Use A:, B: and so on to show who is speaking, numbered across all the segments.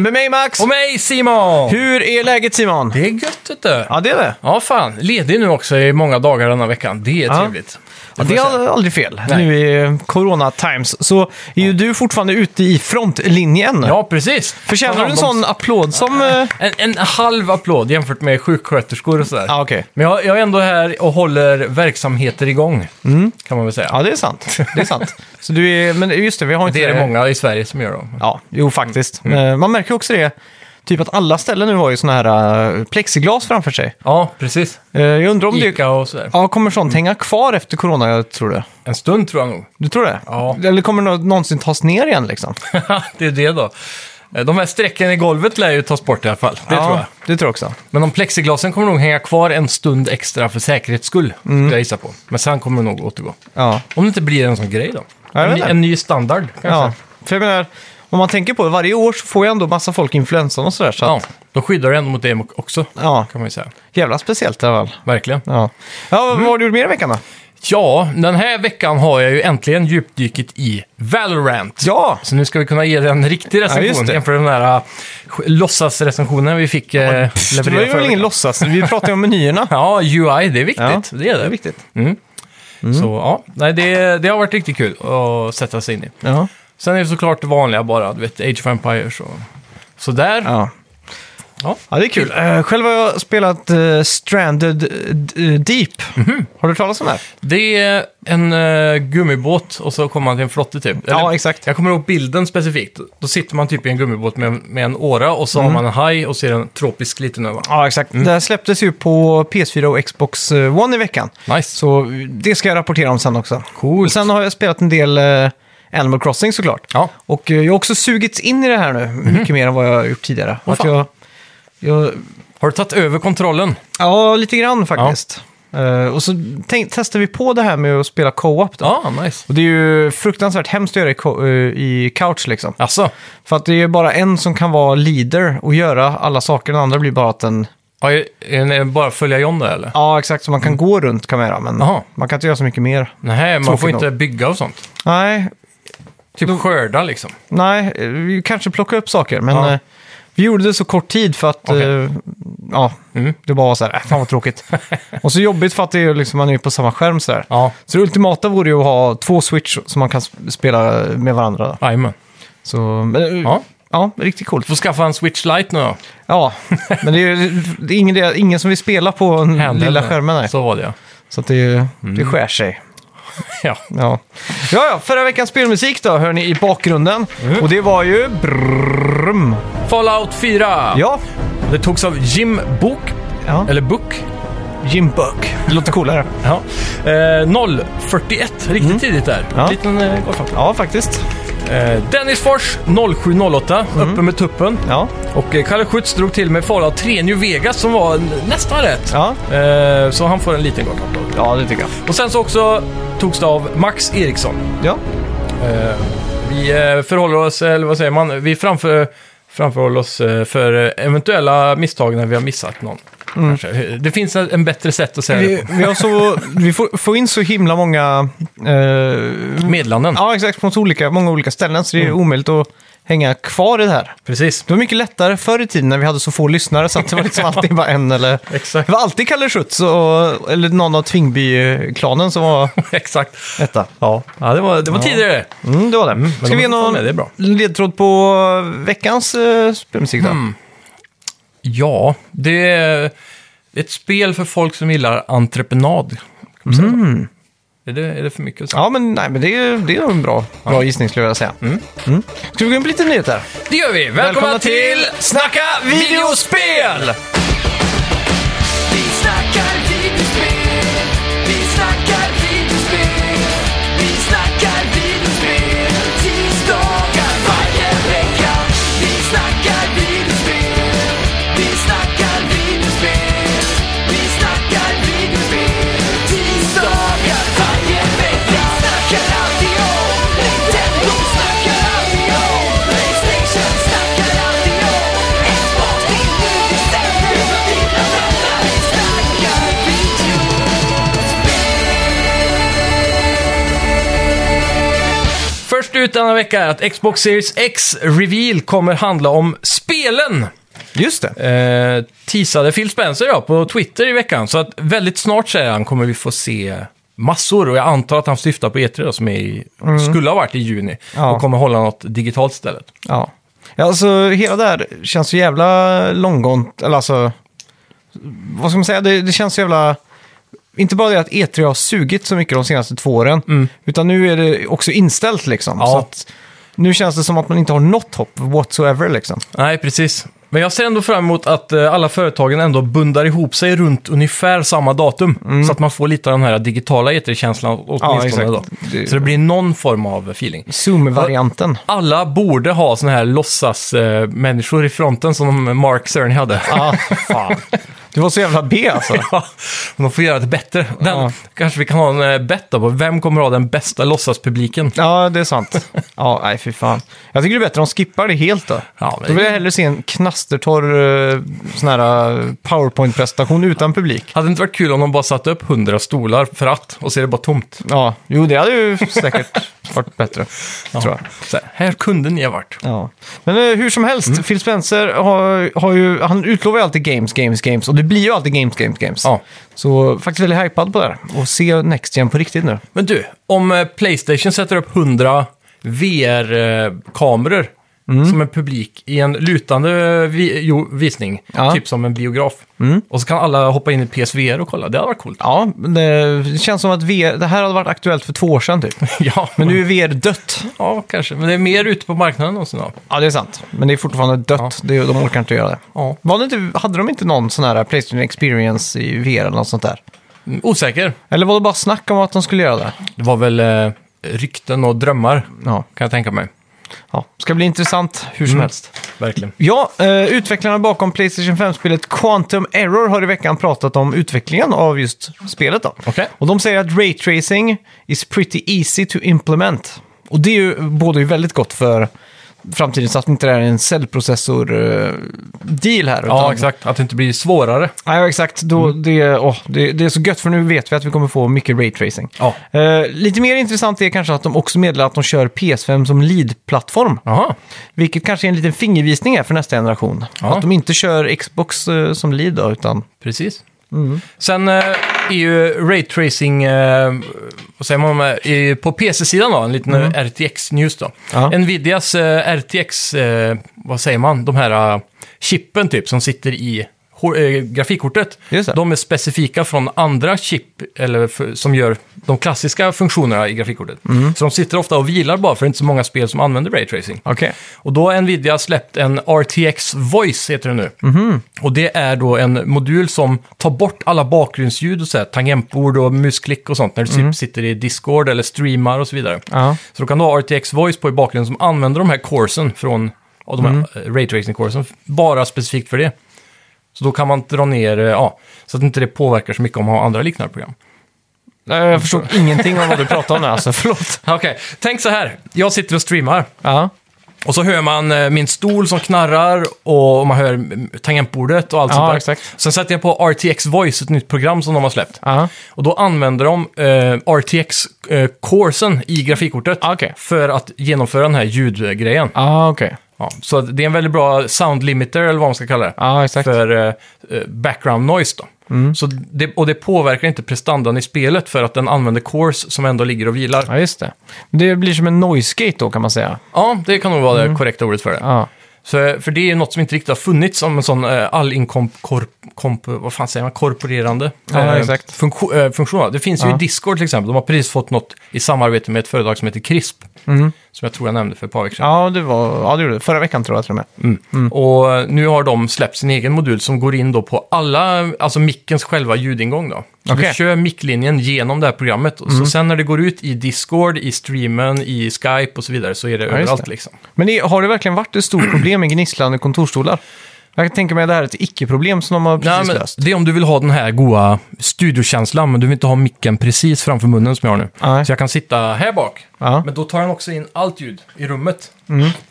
A: Med mig Max!
B: Och mig Simon!
A: Hur är läget Simon?
B: Det är gött vet du.
A: Ja, det är det.
B: Ja, fan. Ledig nu också i många dagar denna veckan. Det är
A: Ja.
B: trevligt.
A: Ja,
B: får
A: det
B: jag säga.
A: är aldrig fel.
B: Nej.
A: Nu i corona times så är ju du fortfarande ute i frontlinjen.
B: Ja, precis.
A: Förtjänar du en sån applåd som... eh,
B: En, en halv applåd jämfört med sjuksköterskor och sådär.
A: Ja, okej.
B: Men jag, jag är ändå här och håller verksamheter igång, kan man väl säga.
A: Mm. Ja, det är sant. Det är sant. Så du är... Men just det, vi har inte...
B: det är det många Mm. i Sverige som gör då.
A: Ja, jo faktiskt. Men Man märker också det. Typ att alla ställen nu har ju såna här eh, plexiglas framför sig.
B: Ja, precis.
A: Eh, Jag undrar om det...
B: Ica och sådär.
A: Ja, kommer sånt hänga kvar efter corona, jag tror det.
B: En stund tror jag nog.
A: Du tror det?
B: Ja.
A: Eller kommer det någonsin tas ner igen liksom?
B: det är det då. Eh, De här strecken i golvet lär ju tas bort i alla fall. Det
A: ja,
B: tror jag.
A: Det tror jag också.
B: Men de plexiglasen kommer nog hänga kvar en stund extra för säkerhets skull,
A: Mm.
B: skulle jag gissa på. Men sen kommer det nog återgå.
A: Ja.
B: Om det inte blir en sån grej då.
A: Jag vet
B: En, ny-
A: inte.
B: en ny standard kanske.
A: ja.
B: Ja.
A: För jag menar, om man tänker på det, varje år så får ju ändå massa folk influensan och sådär. Så att,
B: Då skyddar det ändå mot det också,
A: ja.
B: kan man ju säga.
A: jävla speciellt i alla fall.
B: Verkligen.
A: Ja. ja,
B: Mm.
A: vad har du gjort mer i veckan då?
B: Ja, den här veckan har jag ju äntligen djupdykt i Valorant.
A: Ja!
B: Så nu ska vi kunna ge den en riktig
A: Ja, just
B: recension
A: det.
B: jämfört med den där äh, låtsasrecensionen vi fick
A: Det
B: eh,
A: var
B: leverera
A: ju
B: förra
A: väl ingen
B: veckan.
A: låtsas, vi pratade ju om menyerna.
B: Ja, UI, det är viktigt.
A: Ja,
B: det är det.
A: viktigt.
B: Så ja, nej, det, det har varit riktigt kul att sätta sig in i.
A: Ja.
B: Sen är det såklart det vanliga bara, du vet, Age of Empires och sådär. Ja.
A: Ja.
B: Ja.
A: ja, det är kul. Eh, själv har jag spelat eh, Stranded eh, Deep.
B: Mhm.
A: Har du hört talas om det? här?
B: Det är en eh, gummibåt och så kommer man till en flotte typ.
A: Ja, exakt.
B: Jag kommer ihåg bilden specifikt. Då sitter man typ i en gummibåt med, med en åra och så
A: Mm.
B: har man en haj och ser en tropisk liten ö.
A: Ja, exakt. Det här släpptes ju på PS4 och Xbox eh, One i veckan.
B: Nice.
A: Så det ska jag rapportera om sen också.
B: Coolt.
A: Och sen har jag spelat en del eh, Animal Crossing såklart.
B: Ja. Mhm.
A: Och eh, jag har också sugits in i det här nu, mycket mer än vad jag har gjort tidigare.
B: Åh,
A: att
B: fan.
A: jag, jag,
B: Har du tagit över kontrollen?
A: ja, lite grann faktiskt. Eh, och så tänk, testar vi på det här med att spela co-op då.
B: Ja, nice.
A: Och det är ju fruktansvärt hemskt att göra i, co- eh, i couch liksom.
B: Alltså,
A: För att det är ju bara en som kan vara leader och göra alla saker. Den andra blir bara att den...
B: har jag- är det bara att följa John där eller?
A: Ja, exakt. Så man kan gå runt kan man göra, men
B: Mm. Jaha.
A: man kan inte göra så mycket mer.
B: Nej, man
A: Tråkigt
B: får inte bygga och sånt.
A: Nej,
B: Typ skörda liksom.
A: Nej, eh, vi kanske plocka upp saker, men
B: Ja.
A: eh, vi gjorde det så kort tid för att
B: Okej.
A: eh, ja,
B: Mm.
A: det bara var så här, äh, fan vad tråkigt. och så jobbigt för att det är liksom, man är på samma skärm så där.
B: Ja,
A: Så det ultimata vore ju att ha två switch som man kan sp- spela med varandra.
B: jajamän.
A: Så, men, eh, ja.
B: Ja.
A: riktigt coolt.
B: Du får skaffa en Switch Lite nu då.
A: Ja, men det är, ju- det är ingen, det- ingen som vill spela på den
B: Handheld.
A: lilla skärmen. Nej. Så,
B: Så Mm. var det ja.
A: att det, det skär sig.
B: ja.
A: Ja. ja, ja, förra veckans spelmusik då, hör ni i bakgrunden.
B: Mm.
A: Och det var ju... Brrrrum.
B: Fallout 4!
A: Ja.
B: Det togs av Jim Book,
A: ja.
B: eller Book,
A: Jim Buck. Det låter coolare.
B: ja. eh, 041, riktigt tidigt där.
A: Mm. Ja.
B: Liten eh, golfplatta.
A: ja, faktiskt.
B: eh, Dennis Fors, 0708,
A: Mm.
B: uppe med tuppen.
A: Ja.
B: Och eh, Kalle Schütz drog till med Fallout 3 New Vegas som var n- nästan rätt.
A: Ja.
B: Eh, så han får en liten golfapplåd.
A: ja, det tycker jag.
B: Och sen så också togs det av Max Eriksson.
A: Ja,
B: Eh, vi eh, förhåller oss, eller vad säger man, vi framför, framförhåller oss eh, för eh, eventuella misstag när vi har missat någon. Kanske. Det finns en, en bättre sätt att säga
A: Mm.
B: det
A: vi,
B: på.
A: vi, har så, vi får, får in så himla många... Eh,
B: Medlanden.
A: ja, exakt. Från så olika, många olika ställen, så det är
B: Mm.
A: omöjligt att hänga kvar i det här.
B: Precis.
A: Det var mycket lättare förr i tiden när vi hade så få lyssnare, så att det var liksom alltid bara en eller...
B: Exakt.
A: Det var alltid Kalle Schütz och, eller någon av Tvingby-klanen som var
B: Exakt.
A: etta.
B: Ja, ja det var, det var tidigare.
A: Mm, det var det.
B: men
A: Ska
B: de
A: vi ge
B: får ta med, det är
A: någon
B: bra.
A: ledtråd på veckans eh, spelmusik då?
B: Ja, det är ett spel för folk som gillar entreprenad. kan man säga.
A: Mm.
B: Är, det, är det för mycket att säga?
A: Ja, men, nej, men det, är, det är nog en bra, bra gissning skulle jag vilja säga. Mm. Ska vi gå in på lite nyheter?
B: Det gör vi! Välkomna,
A: Välkomna
B: till
A: till
B: Snacka videospel!
C: Vi snackar videospel, vi snackar videospel, vi snackar videospel, tisdagar varje vecka. Vi snackar videospel, vi snackar videospel, vi snackar videospel, tisdagar varje vecka. Vi snackar alltid om Nintendo, snackar alltid om Playstation, snackar alltid om Xbox, till nu december.
B: ut denna vecka är att Xbox Series X Reveal kommer handla om spelen.
A: Just det.
B: Eh, teasade Phil Spencer ja, på Twitter i veckan. Så att väldigt snart, säger han, kommer vi få se massor. Och jag antar att han syftar på E3 då, som är i, skulle ha varit i juni.
A: Mm. Ja.
B: Och kommer hålla något digitalt istället.
A: Ja. ja, alltså hela det här känns så jävla långgångt. Eller alltså, vad ska man säga? Det, det känns så jävla... Inte bara det att E3 har sugit så mycket de senaste två åren, utan nu är det också inställt liksom.
B: Ja.
A: Så att, nu känns det som att man inte har något hopp whatsoever liksom.
B: Nej, precis. Men jag ser ändå fram emot att eh, alla företagen ändå bundar ihop sig runt ungefär samma datum.
A: Mm.
B: Så att man får lite av den här digitala E3-känslan åtminstone. då.
A: exakt. Det-
B: Så det blir någon form av feeling.
A: Zoom-varianten.
B: Alla borde ha såna här låtsas-människor i fronten som Mark Cerny hade.
A: Ja, Ah, fan. Du var så jävla B alltså.
B: Ja, de får göra det bättre. Den,
A: Ja.
B: Kanske vi kan ha en eh, bet då på vem kommer ha den bästa låtsaspubliken.
A: Ja, det är sant. Ja, nej fy fan. Jag tycker det är bättre om de skippar det helt då.
B: Ja, men-
A: Då vill jag hellre se en knastertorr eh, sån här eh, powerpoint-presentation utan publik.
B: Hade det inte varit kul om de bara satte upp 100 stolar för att och ser det bara tomt?
A: Ja, jo det hade ju säkert varit bättre, tror jag.
B: Så här, här kunde ni ha varit.
A: Ja. Men eh, hur som helst, Phil Spencer har, har ju, han utlovar ju alltid games, games, games. Och det blir ju alltid games, games, games.
B: Ja.
A: Så faktiskt väldigt hypad på det här. Och se Next Gen på riktigt nu.
B: Men du, om eh, Playstation sätter upp 100 VR-kameror
A: Mm.
B: som en publik i en lutande vi jo, visning,
A: Ja. Mm.
B: typ som en biograf. Och så kan alla hoppa in i PSVR och kolla, det hade varit coolt.
A: Ja, men eh, det känns som att VR, det här hade varit aktuellt för två år sedan typ.
B: ja,
A: Men nu är VR dött.
B: ja, kanske. Men det är mer ute på marknaden än någonsin. Ja.
A: Ja, det är sant. Men det är fortfarande dött. Det, de orkar inte göra det.
B: Ja.
A: Var det inte, hade de inte någon sån här Playstation Experience i VR eller något sånt där?
B: Mm, Osäker.
A: Eller var det bara snack om att de skulle göra det?
B: Det var väl eh, rykten och drömmar,
A: Ja.
B: kan jag tänka mig.
A: ja. Ska bli intressant hur
B: Mm.
A: som helst.
B: Verkligen.
A: Ja, eh, utvecklarna bakom Playstation 5-spelet Quantum Error har i veckan pratat om utvecklingen av just spelet. Då.
B: Okej.
A: Och de säger att Ray Tracing is pretty easy to implement. Och det är ju både ju väldigt gott för framtiden så att inte det här är en cellprocessor-deal här.
B: Ja,
A: utan-
B: exakt. Att det inte blir svårare.
A: Ja, exakt. Då, det, åh, det, det är så gött för nu vet vi att vi kommer få mycket Ray Tracing.
B: Ja.
A: Eh, lite mer intressant är kanske att de också meddelar att de kör PS5 som lead-plattform.
B: Jaha.
A: Vilket kanske är en liten fingervisning här för nästa generation.
B: Ja.
A: Att de inte kör Xbox eh, som lead då, utan...
B: Precis.
A: Mm.
B: Sen eh, är ju raytracing, eh, vad säger man, om det? I- på PC-sidan då, en liten RTX-news då.
A: Mm. Ja.
B: Nvidias eh, RTX, eh, vad säger man, de här eh, chippen typ som sitter i hår- eh, grafikkortet.
A: Just det.
B: De är specifika från andra chip eller för, som gör de klassiska funktionerna i grafikkortet.
A: Mm.
B: Så de sitter ofta och vilar bara för det är inte så många spel som använder raytracing.
A: Okej.
B: Och då har Nvidia släppt en RTX Voice, heter det nu. Och det är då en modul som tar bort alla bakgrundsljud och så här, tangentbord och musklick och sånt när du typ sitter i Discord eller streamar och så vidare.
A: Ja.
B: Så då kan du ha RTX Voice på i bakgrunden som använder de här coresen från, av de här mm. raytracing-coresen, bara specifikt för det. Så då kan man dra ner, eh, ja, så att inte det påverkar så mycket om man har andra liknande program.
A: Nej, Jag förstod ingenting om vad du pratade om där, alltså. Förlåt.
B: Okej, tänk så här, jag sitter och streamar.
A: Ja.
B: Och så hör man eh, min stol som knarrar och man hör mm, tangentbordet och allt
A: Ja,
B: sånt där.
A: exakt.
B: Sen sätter jag på RTX Voice, ett nytt program som de har släppt.
A: Ja.
B: Och då använder de eh, RTX-coursen i grafikkortet
A: Ah, okej.
B: för att genomföra den här ljudgrejen.
A: Ja, okej.
B: Ja, så att det är en väldigt bra sound limiter, eller vad man ska kalla det,
A: Ja, exakt. Mm.
B: för eh, eh, background noise. Då. Så det, och det påverkar inte prestandan i spelet för att den använder cores som ändå ligger och vilar.
A: Ja, just det. Det blir som en noise gate då, kan man säga.
B: Ja, det kan nog vara
A: Mm.
B: det korrekta ordet för det.
A: Ja.
B: Så, eh, för det är ju något som inte riktigt har funnits som en sån eh, all-inkomp... Vad fan säger man? Korporerande
A: Ja, exakt.
B: Funktion, eh, funktion. va? Det finns ju i Discord till exempel. De har precis fått något i samarbete med ett företag som heter CRISP.
A: Mm.
B: Som jag tror jag nämnde för ett par veckor sedan.
A: Ja, det var... Ja, det gjorde det. Förra veckan tror jag till och med. mm.
B: Och eh, nu har de släppt sin egen modul som går in då på alla, alltså mickens själva ljudingång då. Så
A: Okej. Mm.
B: Du kör micklinjen genom det här programmet. och Så sen när det går ut i Discord, i streamen, i Skype och så vidare så är det
A: just
B: överallt
A: det.
B: liksom.
A: Men det, har det verkligen varit ett stort problem med gnisslande kontorstolar? Jag kan tänka mig att det här är ett icke-problem som de har precis
B: Nej, men
A: löst.
B: det är om du vill ha den här goa studiokänslan, men du vill inte ha micken precis framför munnen som jag har nu.
A: Nej.
B: Så jag kan sitta här bak,
A: Ja. Mm.
B: men då tar den också in allt ljud i rummet.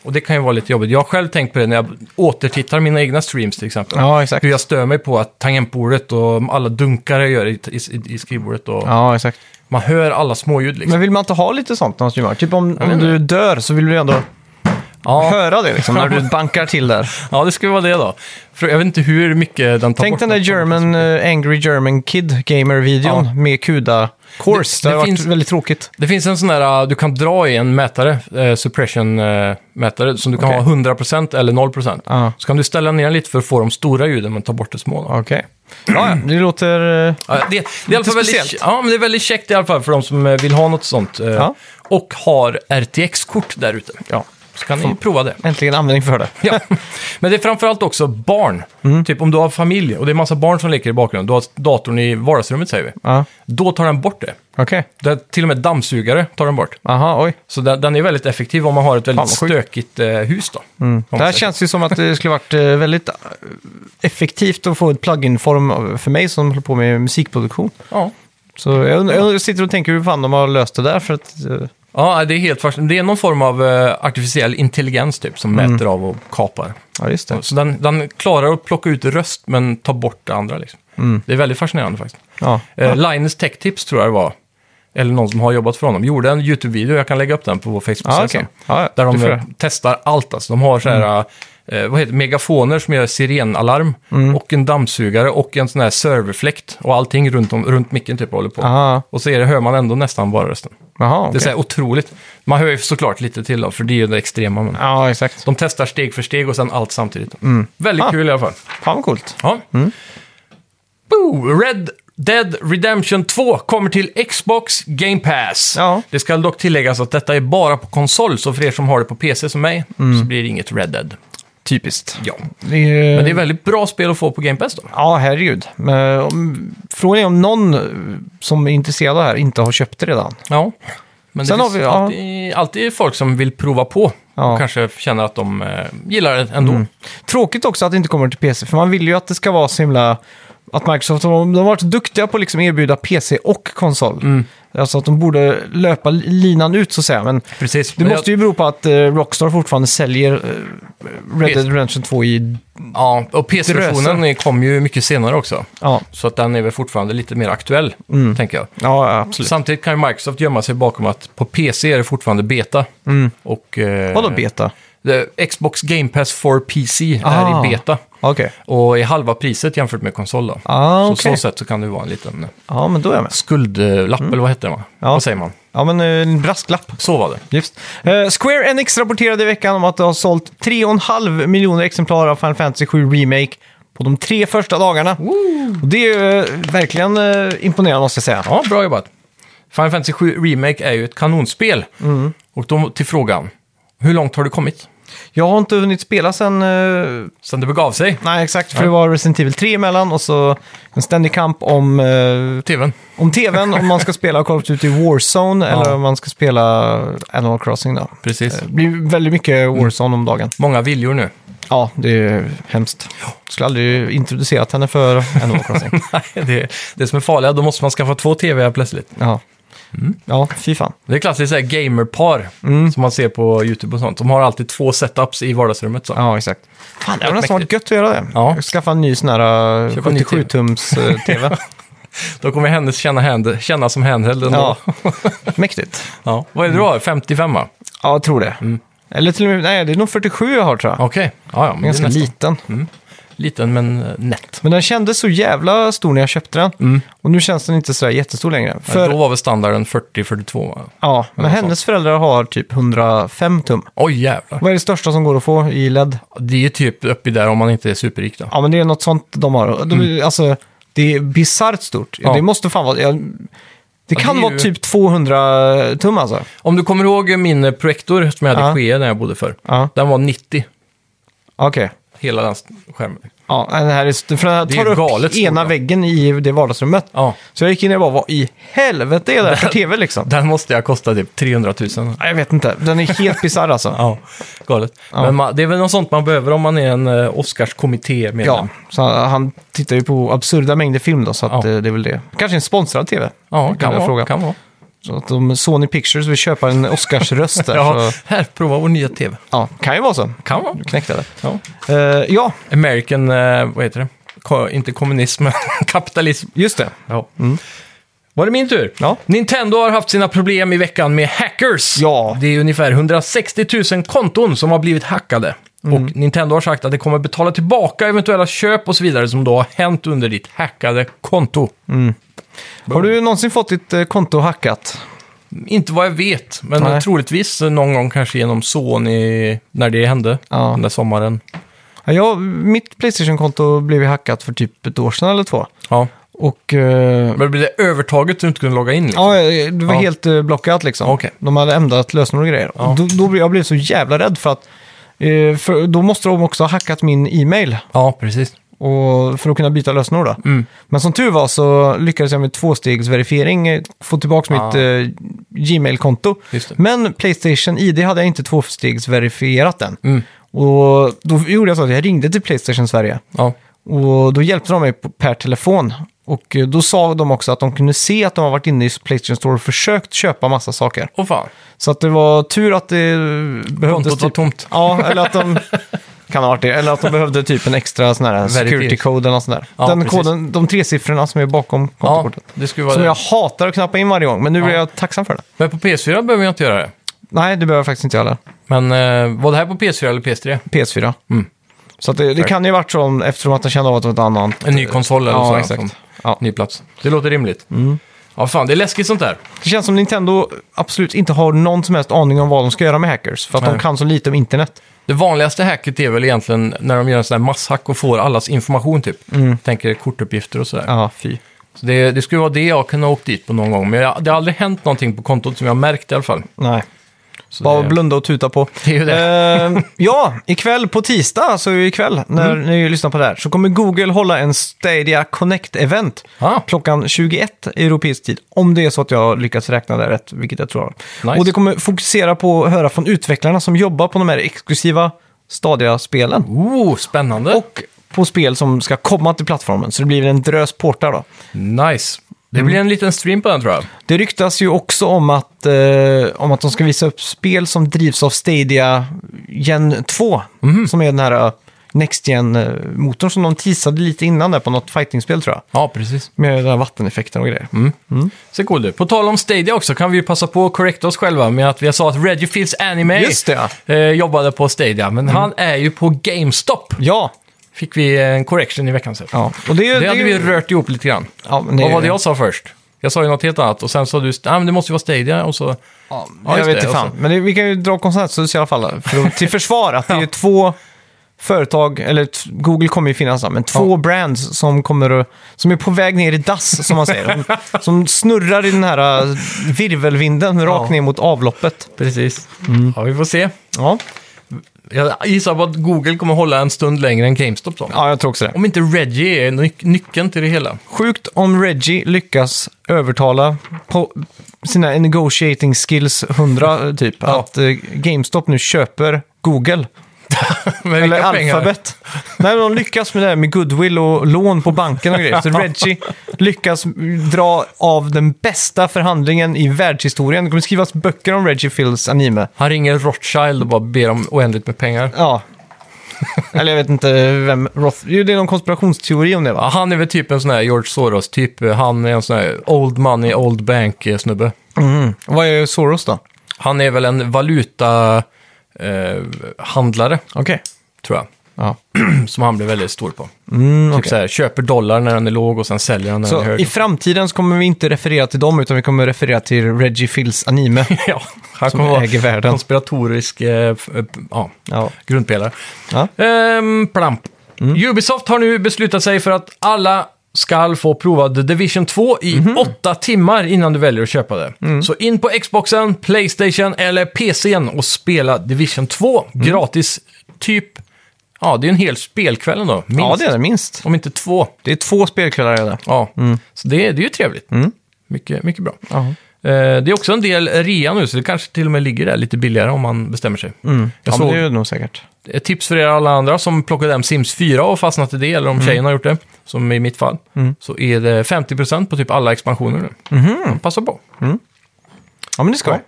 B: Och det kan ju vara lite jobbigt. Jag har själv tänkt på det när jag återtittar mina egna streams till exempel.
A: Ja, exakt.
B: Hur jag stör mig på att tangentbordet och alla dunkar jag gör i, i, i skrivbordet. Och
A: Ja, exakt.
B: Man hör alla småljud liksom.
A: Men vill man inte ha lite sånt när man streamar? Typ om, om du dör så vill du ändå
B: Ja,
A: höra det liksom, när du bankar till där.
B: ja, det skulle vara det då. För jag vet inte hur mycket den tar
A: Tänk
B: bort.
A: den där German, eh, Angry German Kid Gamer-videon
B: Ja.
A: med Kuda Course.
B: Det-
A: Det,
B: det
A: har varit
B: finns-
A: väldigt tråkigt.
B: Det finns en sån där, uh, du kan dra i en mätare, eh, suppression-mätare, som du kan
A: Okej. Ah.
B: ha 100% eller 0%.
A: Ja.
B: Så kan du ställa ner den lite för att få de stora ljuden men ta bort det små. Då.
A: Okej. Ja, ja, det låter... eh,
B: Ja, det, det, är i alla fall väldigt,
A: speciellt.
B: ja, men det är väldigt käckt i alla fall för de som eh, vill ha något sånt. eh,
A: Ja.
B: Och har RTX-kort där ute.
A: Ja,
B: Så kan ni prova det.
A: äntligen användning för det.
B: Ja. Men det är framförallt också barn.
A: Mm.
B: Typ om du har familj och det är massa barn som leker i bakgrunden. Du har datorn i vardagsrummet säger vi.
A: Ja,
B: Då tar den bort det.
A: okej.
B: det till och med dammsugare tar den bort.
A: Aha, oj.
B: Så den, den är väldigt effektiv om man har ett väldigt
A: vad sjukt. Mm.
B: stökigt eh, hus då. Om
A: Det här
B: man säger.
A: känns ju som att det skulle varit eh, väldigt eh, effektivt att få ett plugin-form av- för mig som håller på med musikproduktion.
B: Ja.
A: Så jag, und- jag sitter och tänker hur fan de har löst det där för att... eh,
B: ja, det är helt fascinerande. Det är någon form av eh, artificiell intelligens typ som
A: Mm.
B: mäter av och kapar.
A: Ja, just det.
B: Så den, den klarar att plocka ut röst men tar bort det andra liksom.
A: Mm.
B: Det är väldigt fascinerande faktiskt.
A: Ja.
B: Eh, Linus Tech Tips tror jag det var, eller någon som har jobbat för honom, gjorde en YouTube-video, jag kan lägga upp den på vår Facebook-sida
A: Ja, okej.
B: sen.
A: Ja, ja.
B: Där
A: Det
B: de
A: får jag. Mm.
B: eh, testar allt, alltså. de har så här, eh, vad heter det, megafoner som gör sirenalarm och en dammsugare och en sån här serverfläkt och allting runt, om, runt micken typ håller på.
A: Aha.
B: Och så är det, hör man ändå nästan bara rösten.
A: Jaha,
B: Det är
A: okej.
B: så här otroligt. Man hör ju såklart lite till då, för det är ju det extrema. Men
A: Ja, exakt.
B: de testar steg för steg och sen allt samtidigt. Väldigt
A: Ah.
B: kul i alla fall.
A: Fan vad coolt.
B: Ja. Boo! Red Dead Redemption 2 kommer till Xbox Game Pass.
A: Ja.
B: Det ska dock tilläggas att detta är bara på konsol, så för er som har det på PC som mig
A: Mm.
B: så blir det inget Red Dead.
A: Typiskt.
B: Ja.
A: Det är,
B: Men det är väldigt bra spel att få på Game Pass då.
A: Ja, herregud. Men, om- Frågan är om någon eh, som är intresserad av det här inte har köpt det redan.
B: Ja. Men det
A: Sen har
B: finns
A: vi- ja.
B: alltid, alltid folk som vill prova på
A: Ja. Mm.
B: och kanske känner att de eh, gillar det ändå.
A: Tråkigt också att det inte kommer till PC, för man vill ju att det ska vara så himla... Att Microsoft de de har varit duktiga på att liksom erbjuda PC och konsol.
B: Mm.
A: Alltså att de borde löpa li- linan ut så att säga. Men
B: Precis.
A: det
B: Men
A: måste ju bero på att eh, Rockstar fortfarande säljer eh, Red Dead Redemption 2 i...
B: jag, ja, och PC-versionen kom ju mycket senare också.
A: Ja,
B: Så att den är väl fortfarande lite mer aktuell,
A: Mm.
B: tänker jag.
A: ja absolut.
B: Samtidigt kan ju Microsoft gömma sig bakom att på PC är det fortfarande beta. Och, eh,
A: Mm. Vadå beta?
B: det- Xbox Game Pass for PC
A: Ah.
B: är i beta.
A: Okej.
B: Och är halva priset jämfört med konsol då.
A: Ah,
B: så
A: okej.
B: så sätt så kan det vara en liten
A: Ja, men då är jag med.
B: skuldlapp, eller vad heter det? Va?
A: Ja.
B: Vad säger man?
A: Ja, men eh, en brasklapp.
B: Så var det.
A: Just. Eh, Square Enix rapporterade i veckan om att det har sålt 3,5 miljoner exemplar av Final Fantasy 7 Remake på de tre första dagarna. Och det är ju eh, verkligen eh, imponerande måste jag säga.
B: Ja, bra jobbat. Final Fantasy 7 Remake är ju ett kanonspel.
A: Mm.
B: Och då till frågan, hur långt har du kommit?
A: Jag har inte hunnit spela sen... eh,
B: Sen det begav sig?
A: nej, exakt. För det var Resident Evil 3 emellan och så en ständig kamp om, eh,
B: TVn?
A: om tvn, om man ska spela Call of Duty Warzone eller om man ska spela Animal Crossing. Då.
B: Precis.
A: Det blir väldigt mycket Warzone om dagen.
B: Många viljor nu.
A: Ja, det är hemskt. Skulle aldrig introducerat henne för Animal Crossing.
B: Nej, det, det som är farliga, då måste man skaffa två TVar plötsligt.
A: Ja.
B: Mm.
A: Ja, fy fan.
B: Det är klassiskt så här gamerpar
A: Mm.
B: som man ser på YouTube och sånt. De har alltid två setups i vardagsrummet. Så.
A: Ja, exakt. Fan, det hade nästan varit
B: mäktigt.
A: gött att göra det.
B: Ja.
A: Skaffa en ny sån här eh,
B: Köpa en ny TV.
A: 77-tums-tv.
B: Då kommer hennes känna, hand, känna som handheld ändå.
A: ja.
B: Ja.
A: Mäktigt.
B: Vad är det du har? 55 va?
A: Ja, jag tror det. Eller till och med, nej, det är nog 47 jag har tror jag.
B: Okej. Mm. Ja, ja, men det är
A: Ganska
B: nästan- Mm.
A: liten.
B: liten men eh, nätt.
A: Men den kändes så jävla stor när jag köpte den. Och nu känns den inte så där jättestor längre. För,
B: För... Mm. Då var väl standarden 40-42 va?
A: ja, men
B: något
A: hennes föräldrar har typ 105 tum.
B: Oj jävlar.
A: Vad är det största som går att få i E LED?
B: Det är ju typ uppe i där om man inte är superrik då.
A: Ja, men det är något sånt de har. De, Alltså, det är bisarrt stort.
B: Mm. Ja.
A: Det måste fan vara... Jag, det
B: det
A: kan
B: är
A: vara
B: ju-
A: typ 200 tum alltså.
B: Om du kommer ihåg min eh, projektor som jag hade
A: Ja.
B: i Skee när jag bodde för.
A: Ja.
B: Den var 90.
A: Okej.
B: hela den skärmen.
A: Ja, den här är, för den här
B: Det är
A: tar upp
B: galet stor,
A: ena
B: ja.
A: väggen i det vardagsrummet.
B: Ja,
A: Så jag gick in och bara, vad i helvete är det här för tv liksom?
B: den måste jag kosta typ 300 000.
A: Nej, Jag vet inte, den är helt bisarr alltså.
B: Ja, galet. Men man, det är väl något sånt man behöver om man är en eh, Oscarskommitté-medlem.
A: Ja, så han, han tittar ju på absurda mängder film då, så att
B: Ja.
A: eh, det är väl det. Kanske en sponsrad tv.
B: ja
A: Det kan
B: kan,
A: jag fråga.
B: vara, kan vara.
A: Så att om Sony Pictures vill köpa en Oscarsröst där,
B: Ja,
A: så,
B: här, prova vår nya tv.
A: ja, kan ju vara så.
B: Kan vara.
A: Du knäckte det.
B: Ja.
A: Eh, ja,
B: American, eh, vad heter det? Ko inte kommunism, men kapitalism.
A: just det.
B: Ja. Mm. Var det min tur?
A: Ja.
B: Nintendo har haft sina problem i veckan med hackers.
A: Ja.
B: Det är ungefär 160 000 konton som har blivit hackade. Och Nintendo har sagt att det kommer betala tillbaka eventuella köp och så vidare som då har hänt under ditt hackade konto.
A: Har du någonsin fått ditt eh, konto hackat?
B: Inte vad jag vet, men
A: Nej.
B: troligtvis någon gång kanske genom Sony när det hände
A: Ja.
B: den där sommaren.
A: Ja, jag, mitt Playstation-konto blev ju hackat för typ ett år sedan eller två.
B: Ja.
A: Och... eh,
B: Men blev det övertaget så du inte kunde logga in? Liksom?
A: Ja, eh, det var
B: Ja.
A: helt eh, blockat liksom.
B: Okej.
A: De hade ändrat lösenord och grejer. Och då, då blev jag blev så jävla rädd för att eh, för då måste de också ha hackat min e-mail
B: ja precis.
A: och, för att kunna byta lösenord. Då.
B: Mm.
A: Men som tur var så lyckades jag med tvåstegsverifiering eh, få tillbaka mitt
B: Ah.
A: eh, Gmail-konto.
B: Just det.
A: Men Playstation ID hade jag inte tvåstegsverifierat än.
B: Mm.
A: Och då gjorde jag så att jag ringde till Playstation Sverige.
B: Ja.
A: Och då hjälpte de mig på- per telefon. Och eh, då sa de också att de kunde se att de har varit inne i Playstation Store och försökt köpa massa saker.
B: Och fan.
A: Så att det var tur att det behövdes... typ-
B: Kontot var tomt.
A: Ja, eller att de... Kan ha varit det. Eller att de behövde typ en extra sån här security
B: Verifiering.
A: code eller något sånt där.
B: Ja,
A: Den
B: precis.
A: koden, de tre siffrorna som är bakom
B: Ja,
A: kontokortet.
B: det skulle vara
A: Som
B: det.
A: jag hatar att knappa in varje gång, men nu är jag tacksam för det.
B: Men på PS4 behöver jag inte göra det.
A: Nej, det behöver jag faktiskt inte jag heller.
B: Men eh, var det här på PS4 eller PS3?
A: PS4.
B: Mm.
A: Så att det, det kan ju ha varit så, eftersom att de kände av att det var ett annat...
B: En ny konsol eller
A: Eh, Ja,
B: så?
A: exakt. Mm.
B: Som,
A: Ja.
B: Ny plats. Det låter rimligt. Ja, fan, det är läskigt sånt där.
A: Det känns som Nintendo absolut inte har någon som helst aning om vad de ska göra med hackers. För att de
B: Nej.
A: kan så lite om internet.
B: Det vanligaste hacket är väl egentligen när de gör en sån här masshack och får allas information typ.
A: Mm.
B: Tänker kortuppgifter och sådär.
A: Ja, fy.
B: Så det, det skulle vara det jag kunde ha åkt dit på någon gång. Men jag, det har aldrig hänt någonting på kontot som jag har märkt i alla fall.
A: Nej.
B: Så
A: Bara
B: det,
A: blunda och tuta på.
B: Det är ju det.
A: Eh, ja, ikväll på tisdag, så ikväll när
B: Mm.
A: ni lyssnar på det här, så kommer Google hålla en Stadia Connect-event
B: Ah.
A: klockan 21 europeisk tid. Om det är så att jag har lyckats räkna det rätt, vilket jag tror.
B: Nice.
A: Och det kommer fokusera på att höra från utvecklarna som jobbar på de här exklusiva Stadia-spelen.
B: Oh, spännande!
A: Och på spel som ska komma till plattformen, så det blir en drös portar då.
B: nice! Det
A: Mm.
B: blir en liten stream på den tror jag.
A: Det ryktas ju också om att, eh, om att de ska visa upp spel som drivs av Stadia Gen 2.
B: Mhm.
A: Som är den här eh, Next Gen-motorn som de teasade lite innan där på något fightingspel tror jag.
B: Ja, precis.
A: Med den här vatteneffekten och grejer.
B: Mm. Så cool du. På tal om Stadia också kan vi ju passa på att korrekta oss själva med att vi sa att Reggie Fils Anime
A: Just det, Mm.
B: eh, jobbade på Stadia, men han är ju på GameStop.
A: Ja,
B: Fick vi en correction i veckan sen.
A: ja. Och det, är ju-
B: Det
A: är
B: hade
A: ju-
B: vi rört ihop lite grann.
A: Ja, men det är
B: Vad
A: ju-
B: var det jag sa först? Jag sa ju något helt annat och sen sa du "Ah, men det måste ju vara Stadia och så...
A: Ja,
B: Ja,
A: jag
B: just
A: vet inte
B: det, alltså. och
A: fan.
B: så-
A: Men det, vi kan ju dra konsensus i alla fall. För, att- till försvar att det är två företag, eller t- Google kommer ju finnas där, men två brands som, kommer att, som är på väg ner i dass, som man säger. som, som snurrar i den här äh, virvelvinden rakt
B: Ja.
A: ner mot avloppet.
B: Precis.
A: Mm.
B: Ja, vi får se.
A: Ja.
B: Jag gissar på att Google kommer hålla en stund längre än GameStop då.
A: ja, jag tror också det.
B: Om inte Reggie är nyc- nyckeln till det hela.
A: Sjukt om Reggie lyckas övertala på sina negotiating skills 100, typ, att eh, GameStop nu köper Google.
B: Med
A: Eller
B: vilka pengar?
A: Alphabet. Nej, men de lyckas med det här med goodwill och lån på banken och grejer. Så Reggie lyckas dra av den bästa förhandlingen i världshistorien. Det kommer skrivas böcker om Reggie Phils anime.
B: Han ringer Rothschild och bara ber om oändligt med pengar.
A: Ja. Eller jag vet inte vem Roth... Jo, det är någon konspirationsteori om det
B: Ja,
A: va?
B: han är väl typ en sån här George Soros-typ. Han är en sån här old money, old bank-snubbe.
A: Vad är Soros då?
B: Han är väl en valutahandlare,
A: Okej.
B: tror jag.
A: Ja.
B: Som han blev väldigt stor på.
A: Mm,
B: Typ
A: okej.
B: så här, köper dollar när den är låg och sen säljer han när den är
A: Så i
B: hög.
A: framtiden så kommer vi inte referera till dem, utan vi kommer referera till Reggie Phils anime.
B: ja, han
A: Som
B: kommer vara
A: äger världen.
B: konspiratorisk eh, f- eh, ja,
A: Ja.
B: grundpelare.
A: Ja. Mm.
B: Ehm, plamp. Ubisoft har nu beslutat sig för att alla ska få prova The Division 2 i
A: Mhm.
B: åtta timmar innan du väljer att köpa det.
A: Mm.
B: Så in på Xboxen,
A: Mm.
B: Playstation eller PCn och spela Division 2 gratis typ Ja, det är en hel spelkväll ändå. Minst.
A: Ja, det Mm. är det minst.
B: Om inte två.
A: Det är två spelkvällar är det.
B: Ja, så det, det är ju trevligt.
A: Mm.
B: Mycket, mycket bra.
A: Ja.
B: Eh, Det är också en del rea nu, så det kanske till och med ligger där lite billigare om man bestämmer sig. Jag
A: Mm. ja, men
B: såg
A: det är det nog säkert.
B: ett tips för er alla andra som plockade hem Sims 4 och fastnat i det, eller om
A: Mm.
B: tjejen har gjort det, som i mitt fall, så är det 50% på typ alla expansioner nu.
A: Mhm.
B: Mm. Passa på.
A: Ja, men det ska.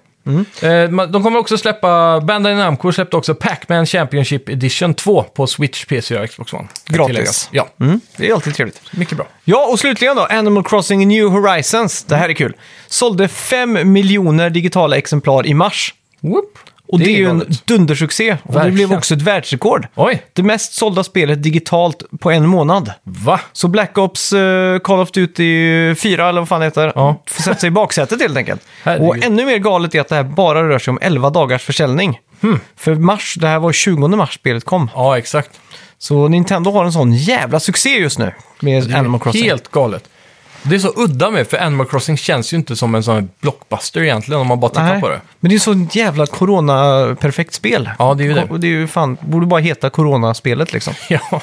B: Eh, man- De kommer också släppa, Bandai Namco släppte också Pac-Man Championship Edition 2 på Switch, PC och Xbox One. Kan
A: Gratis.
B: tilläggas. Ja,
A: Mm. Det är alltid trevligt.
B: mycket bra.
A: Ja, och slutligen då, Animal Crossing New Horizons. Det här är kul. Sålde 5 miljoner digitala exemplar i mars.
B: Whoop.
A: Och det, är ju en
B: galet.
A: dundersuccé. Och det
B: Verkligen.
A: blev också ett världsrekord.
B: Oj,
A: Det mest sålda spelet digitalt på en månad.
B: va?
A: Så Black Ops eh, Call of Duty 4, eller vad fan det heter,
B: Ja.
A: får sätta sig i baksätet helt enkelt.
B: Herregud.
A: Och ännu mer galet är att det här bara rör sig om 11 dagars försäljning.
B: Hmm.
A: För mars, det här var 20 mars spelet kom.
B: Ja, exakt.
A: Så Nintendo har en sån jävla succé just nu med Animal Crossing.
B: Helt galet. Det är så udda med, för Animal Crossing känns ju inte som en sån här blockbuster egentligen om man bara tittar
A: Nej,
B: på det.
A: Men det är så jävla corona-perfekt spel.
B: Ja, det är ju det.
A: Ko- Det är ju fan, borde bara heta coronaspelet liksom.
B: Ja,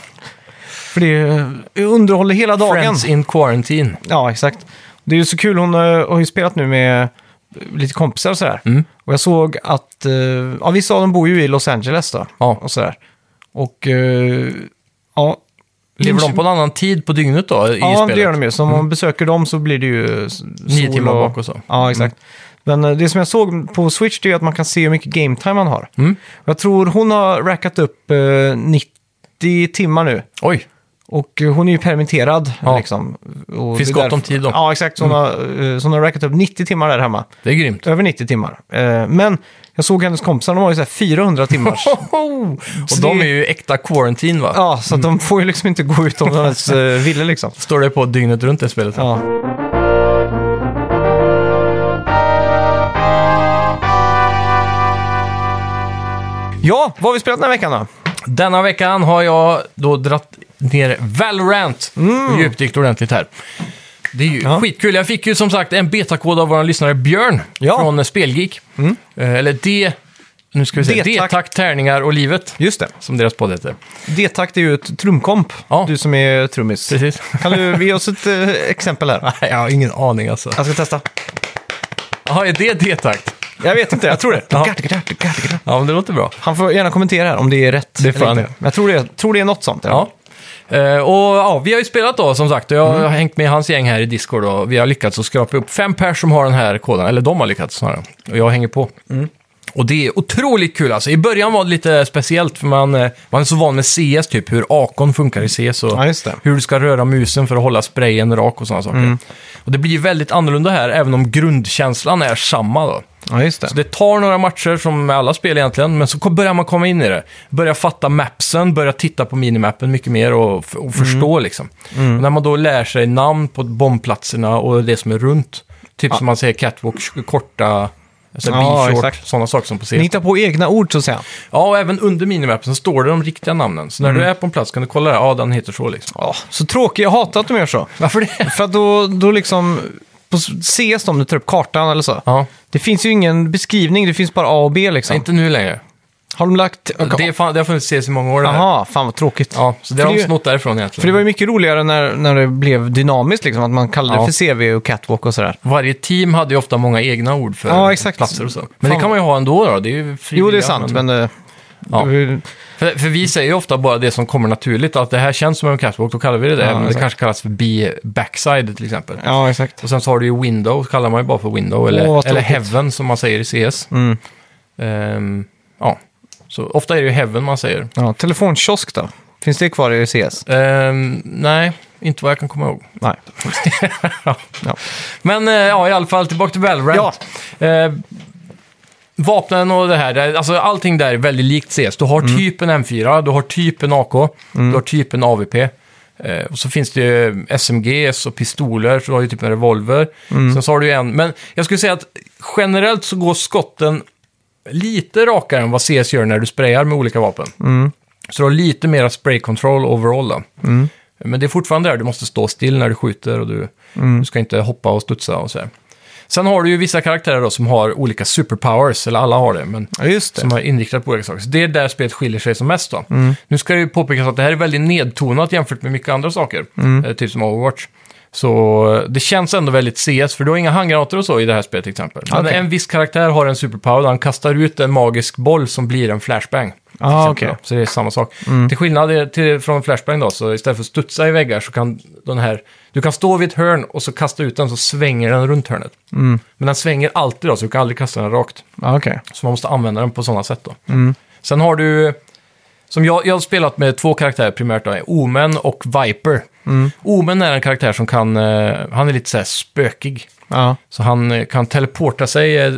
A: För det är- det underhåller hela dagen.
B: Friends in Quarantine.
A: Ja, exakt. Det är ju så kul, hon eh, har ju spelat nu med eh, lite kompisar och sådär.
B: Mm.
A: Och jag såg att, eh, ja vissa av dem bor ju i Los Angeles då.
B: Ja.
A: Och sådär. Och, eh, ja.
B: Lever de på en annan tid på dygnet då i
A: Ja,
B: spelet? Mm.
A: det gör de ju. Så om man besöker dem så blir det ju s- sol
B: Nio timmar bak och så. Mm.
A: Ja, exakt. Men eh, det som jag såg på Switch det är ju att man kan se hur mycket game time man har.
B: Mm.
A: Jag tror hon har rackat upp eh, 90 timmar nu.
B: Oj,
A: Och eh, hon är ju permitterad.
B: Ja.
A: Liksom. Och
B: Finns
A: det är
B: gott
A: därför-
B: om tid då. Mm.
A: Ja, exakt. Så hon, har, eh, så hon har rackat upp 90 timmar där hemma.
B: det är grymt.
A: Över 90 timmar. Eh, Men jag såg hennes kompisar, de har ju så här 400 timmars.
B: Och de är ju äkta quarantine va?
A: Ja, så att de får ju liksom inte gå ut om de ens eh, ville liksom.
B: Står det på dygnet runt det spelet?
A: Ja. Ja, vad har vi spelat den här veckan då?
B: Denna veckan har jag då dratt ner Valorant och djupdykt ordentligt här. Det är ju
A: Ja.
B: skitkul. Jag fick ju som sagt en betakod av vår lyssnare Björn
A: Ja.
B: från Spelgeek. Eh, Eller D... Nu ska vi se.
A: D-tack.
B: D-tack, tärningar och livet.
A: Just det.
B: Som deras podd heter.
A: D-takt är ju ett trumkomp.
B: Ja.
A: Du som är trummis.
B: Precis.
A: Kan du ge oss ett eh, exempel här?
B: Jag har ingen aning alltså.
A: Jag ska testa.
B: Jaha, är det D-takt?
A: Jag vet inte, jag tror det.
B: Ja. Ja, men det låter bra.
A: Han får gärna kommentera här om det är rätt.
B: Det får
A: eller
B: han
A: inte.
B: göra.
A: Men jag tror det, tror det är något sånt.
B: Ja. Eh, och ja, vi har ju spelat då som sagt och jag har hängt med hans gäng här i Discord och vi har lyckats att skrapa upp fem pers som har den här koden, eller de har lyckats snarare, och jag hänger på.
A: Mm.
B: Och det är otroligt kul alltså. I början var det lite speciellt för man, eh, man är så van med CS typ, hur akon funkar i CS och
A: Ja, just det. Mm.
B: hur du ska röra musen för att hålla sprayen rak och sådana saker. Och det blir ju väldigt annorlunda här, även om grundkänslan är samma då.
A: ja just
B: Så det tar några matcher, som med alla spel egentligen, men så kom- börjar man komma in i det. Börjar fatta mapsen, börjar titta på minimappen mycket mer och, f-
A: Mm.
B: och förstå liksom. Och när man då lär sig namn på bombplatserna och det som är runt, typ som man säger catwalk, sh- korta, alltså
A: Ja,
B: B-short,
A: exakt.
B: sådana saker som på
A: Ni
B: scen.
A: hittar på egna ord så att säga.
B: Ja, och även under minimappen så står det de riktiga namnen. Så när
A: Mm.
B: du är på en plats kan du kolla där, ja den heter så liksom.
A: Ja, så tråkigt. Jag hatar att de gör så.
B: Varför det?
A: För att då, då liksom... På CS om du tar upp kartan eller så.
B: Ja,
A: Det finns ju ingen beskrivning, det finns bara A och B liksom.
B: inte nu längre.
A: Har de lagt...
B: Det, är fan, det har funnits CS i många år det här.
A: Jaha, fan vad tråkigt.
B: Ja, så det
A: För
B: har de
A: det-
B: snott därifrån egentligen.
A: För det var ju mycket roligare när, när det blev dynamiskt, liksom, att man kallade
B: Ja.
A: det för CV och catwalk och sådär.
B: Varje team hade ju ofta många egna ord för
A: Ja, exakt.
B: platser och så. Men det
A: Fan.
B: kan man ju ha ändå då. Det är ju
A: Jo, det är
B: frivilliga,
A: sant, men... eh,
B: Ja.
A: det-
B: För, för vi säger ju ofta bara det som kommer naturligt. Att det här känns som en catwalk, då kallar vi det det.
A: Ja,
B: men det
A: exakt.
B: kanske kallas för B-backside till exempel.
A: ja, exakt.
B: Och sen så har du ju window, så kallar man ju bara för window. Eller,
A: Åh, vad
B: eller
A: tråkigt.
B: heaven som man säger i CS.
A: Mm.
B: Ehm, ja, så ofta är det ju heaven man säger.
A: Ja, telefonkiosk då? Finns det kvar i CS?
B: Ehm, nej, inte vad jag kan komma ihåg.
A: Nej. ja.
B: Men eh, ja, i alla fall tillbaka till Valorant. Eh, vapnen och det här, det- alltså allting där är väldigt likt CS. Du har typ en M4, du har typ en AK, du har typ en AVP. Eh, och så finns det ju SMGs och pistoler, så du har ju typ en revolver. Sen så har du ju en, men jag skulle säga att generellt så går skotten lite rakare än vad CS gör när du sprayar med olika vapen. Så du har lite mera spray control overall då. Men det är fortfarande där, du måste stå still när du skjuter och du, du ska inte hoppa och studsa och så här. Sen har du ju vissa karaktärer då som har olika superpowers, eller alla har det, men
A: Ja, just det. Mm.
B: som har inriktat på olika saker. Så det är där spelet skiljer sig som mest då. Nu ska det ju påpekas att det här är väldigt nedtonat jämfört med mycket andra saker,
A: Mm.
B: eh, typ som Overwatch. Så eh, det känns ändå väldigt CS, för du har inga handgranater och så i det här spelet till exempel. Men
A: Okej.
B: en viss karaktär har en superpower, han kastar ut en magisk boll som blir en flashbang. till
A: Ah,
B: exempel
A: okej. Mm.
B: då. Så det är samma sak. Till skillnad är- till, från flashbang då, så istället för att studsa i väggar så kan den här... Du kan stå vid ett hörn och så kasta ut den så svänger den runt hörnet.
A: Mm.
B: Men den svänger alltid då, så du kan aldrig kasta den rakt.
A: Ja, okej.
B: Så man måste använda den på sådana sätt då. Sen har du, som jag, jag har spelat med två karaktärer primärt då, Omen och Viper. Omen är en karaktär som kan, eh, han är lite så här spökig.
A: Ja.
B: Så han eh, kan teleporta sig eh,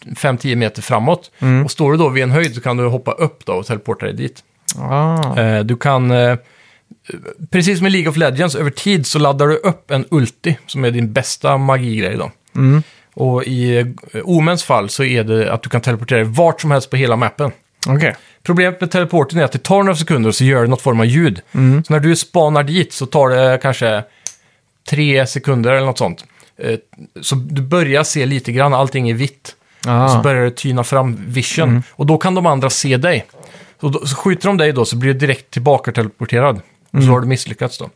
B: 5-10 meter framåt. Och står du då vid en höjd så kan du hoppa upp då och teleporta dig dit.
A: Ah.
B: Eh, Du kan, eh, precis som i League of Legends, över tid så laddar du upp en ulti som är din bästa magigrej då. Och i eh, Omens fall så är det att du kan teleportera dig vart som helst på hela mappen.
A: Okej.
B: Problemet med teleporten är att det tar några sekunder och så gör det något form av ljud. Så när du spanar dit så tar det kanske tre sekunder eller något sånt. Eh, Så du börjar se lite grann, allting är vitt.
A: Ah. Mm.
B: Och så börjar det tyna fram vision. Och då kan de andra se dig. Så, då, så skjuter de dig då så blir du direkt tillbaka teleporterad. Och
A: Mm.
B: Så har du misslyckats då.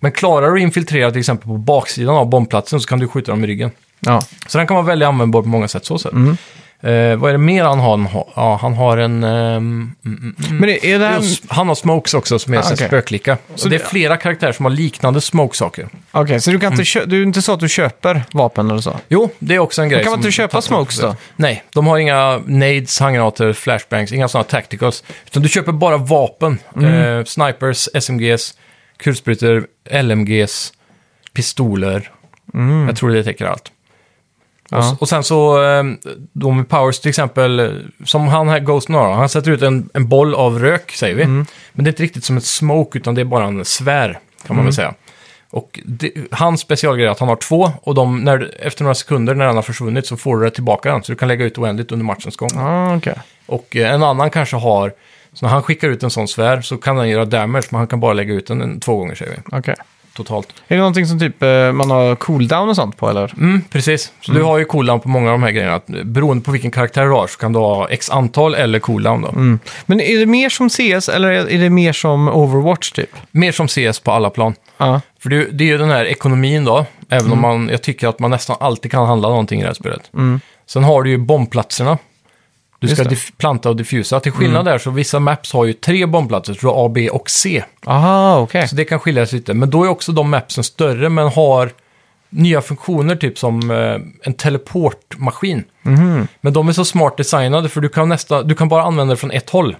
B: Men klarar du att infiltrera till exempel på baksidan av bombplatsen så kan du skjuta dem i ryggen.
A: Ja.
B: Så den kan vara väldigt användbar på många sätt. Så sätt.
A: Mm.
B: Eh, vad är det mer han har? Han har- Ja, han har en... ehm, mm, mm, mm.
A: Men är det här...
B: Jo, s- han har smokes också som är
A: Ah,
B: ah,
A: okej.
B: spöklika. Så det är
A: det-
B: flera karaktärer som har liknande smokesaker.
A: Okej, så du kan inte kö... Du är inte så att du köper vapen eller så?
B: Jo, det är också en grej.
A: kan man
B: som-
A: inte köpa smokes då?
B: Nej, de har inga nades, handgranater, flashbangs, inga sådana tacticals. Utan du köper bara vapen. Eh, snipers, SMGs, kulsprutor, LMGs, pistoler. Jag tror det täcker allt. Och, s-
A: Ja.
B: och sen så, eh, de med powers till exempel, eh, som han här Ghost Nara, han sätter ut en, en boll av rök, säger vi. Men det är inte riktigt som ett smoke, utan det är bara en svär, kan man väl säga. Och det, hans specialgrej är att han har två, och de, när, efter några sekunder när den har försvunnit så får du det tillbaka den, så du kan lägga ut oändligt under matchens gång.
A: Ah, okej.
B: Och eh, en annan kanske har, så när han skickar ut en sån svär så kan den göra damage, men han kan bara lägga ut den en, två gånger, säger vi,
A: Okej.
B: totalt.
A: Är det någonting som typ eh, man har cooldown och sånt på eller?
B: Mm, precis. Så du har ju cooldown på många av de här grejerna. Att Beroende på vilken karaktär du har så kan du ha x antal eller cooldown då.
A: Men är det mer som CS eller är det mer som Overwatch typ?
B: Mer som CS på alla plan.
A: Ja.
B: För det, det är ju den här ekonomin då, även om
A: Mm.
B: man, jag tycker att man nästan alltid kan handla någonting i det här spelet. Sen har du ju bombplatserna. Du
A: Just
B: ska
A: det. Mm.
B: diff- planta och diffusa. Till skillnad där så vissa maps har ju tre bombplatser, så du har A, B och C.
A: Aha, okej.
B: Så det kan skilja sig lite. Men då är också de mapsen större, men har nya funktioner, typ som eh, en teleportmaskin. Men de är så smart designade, för du kan, nästa, du kan bara använda det från ett håll.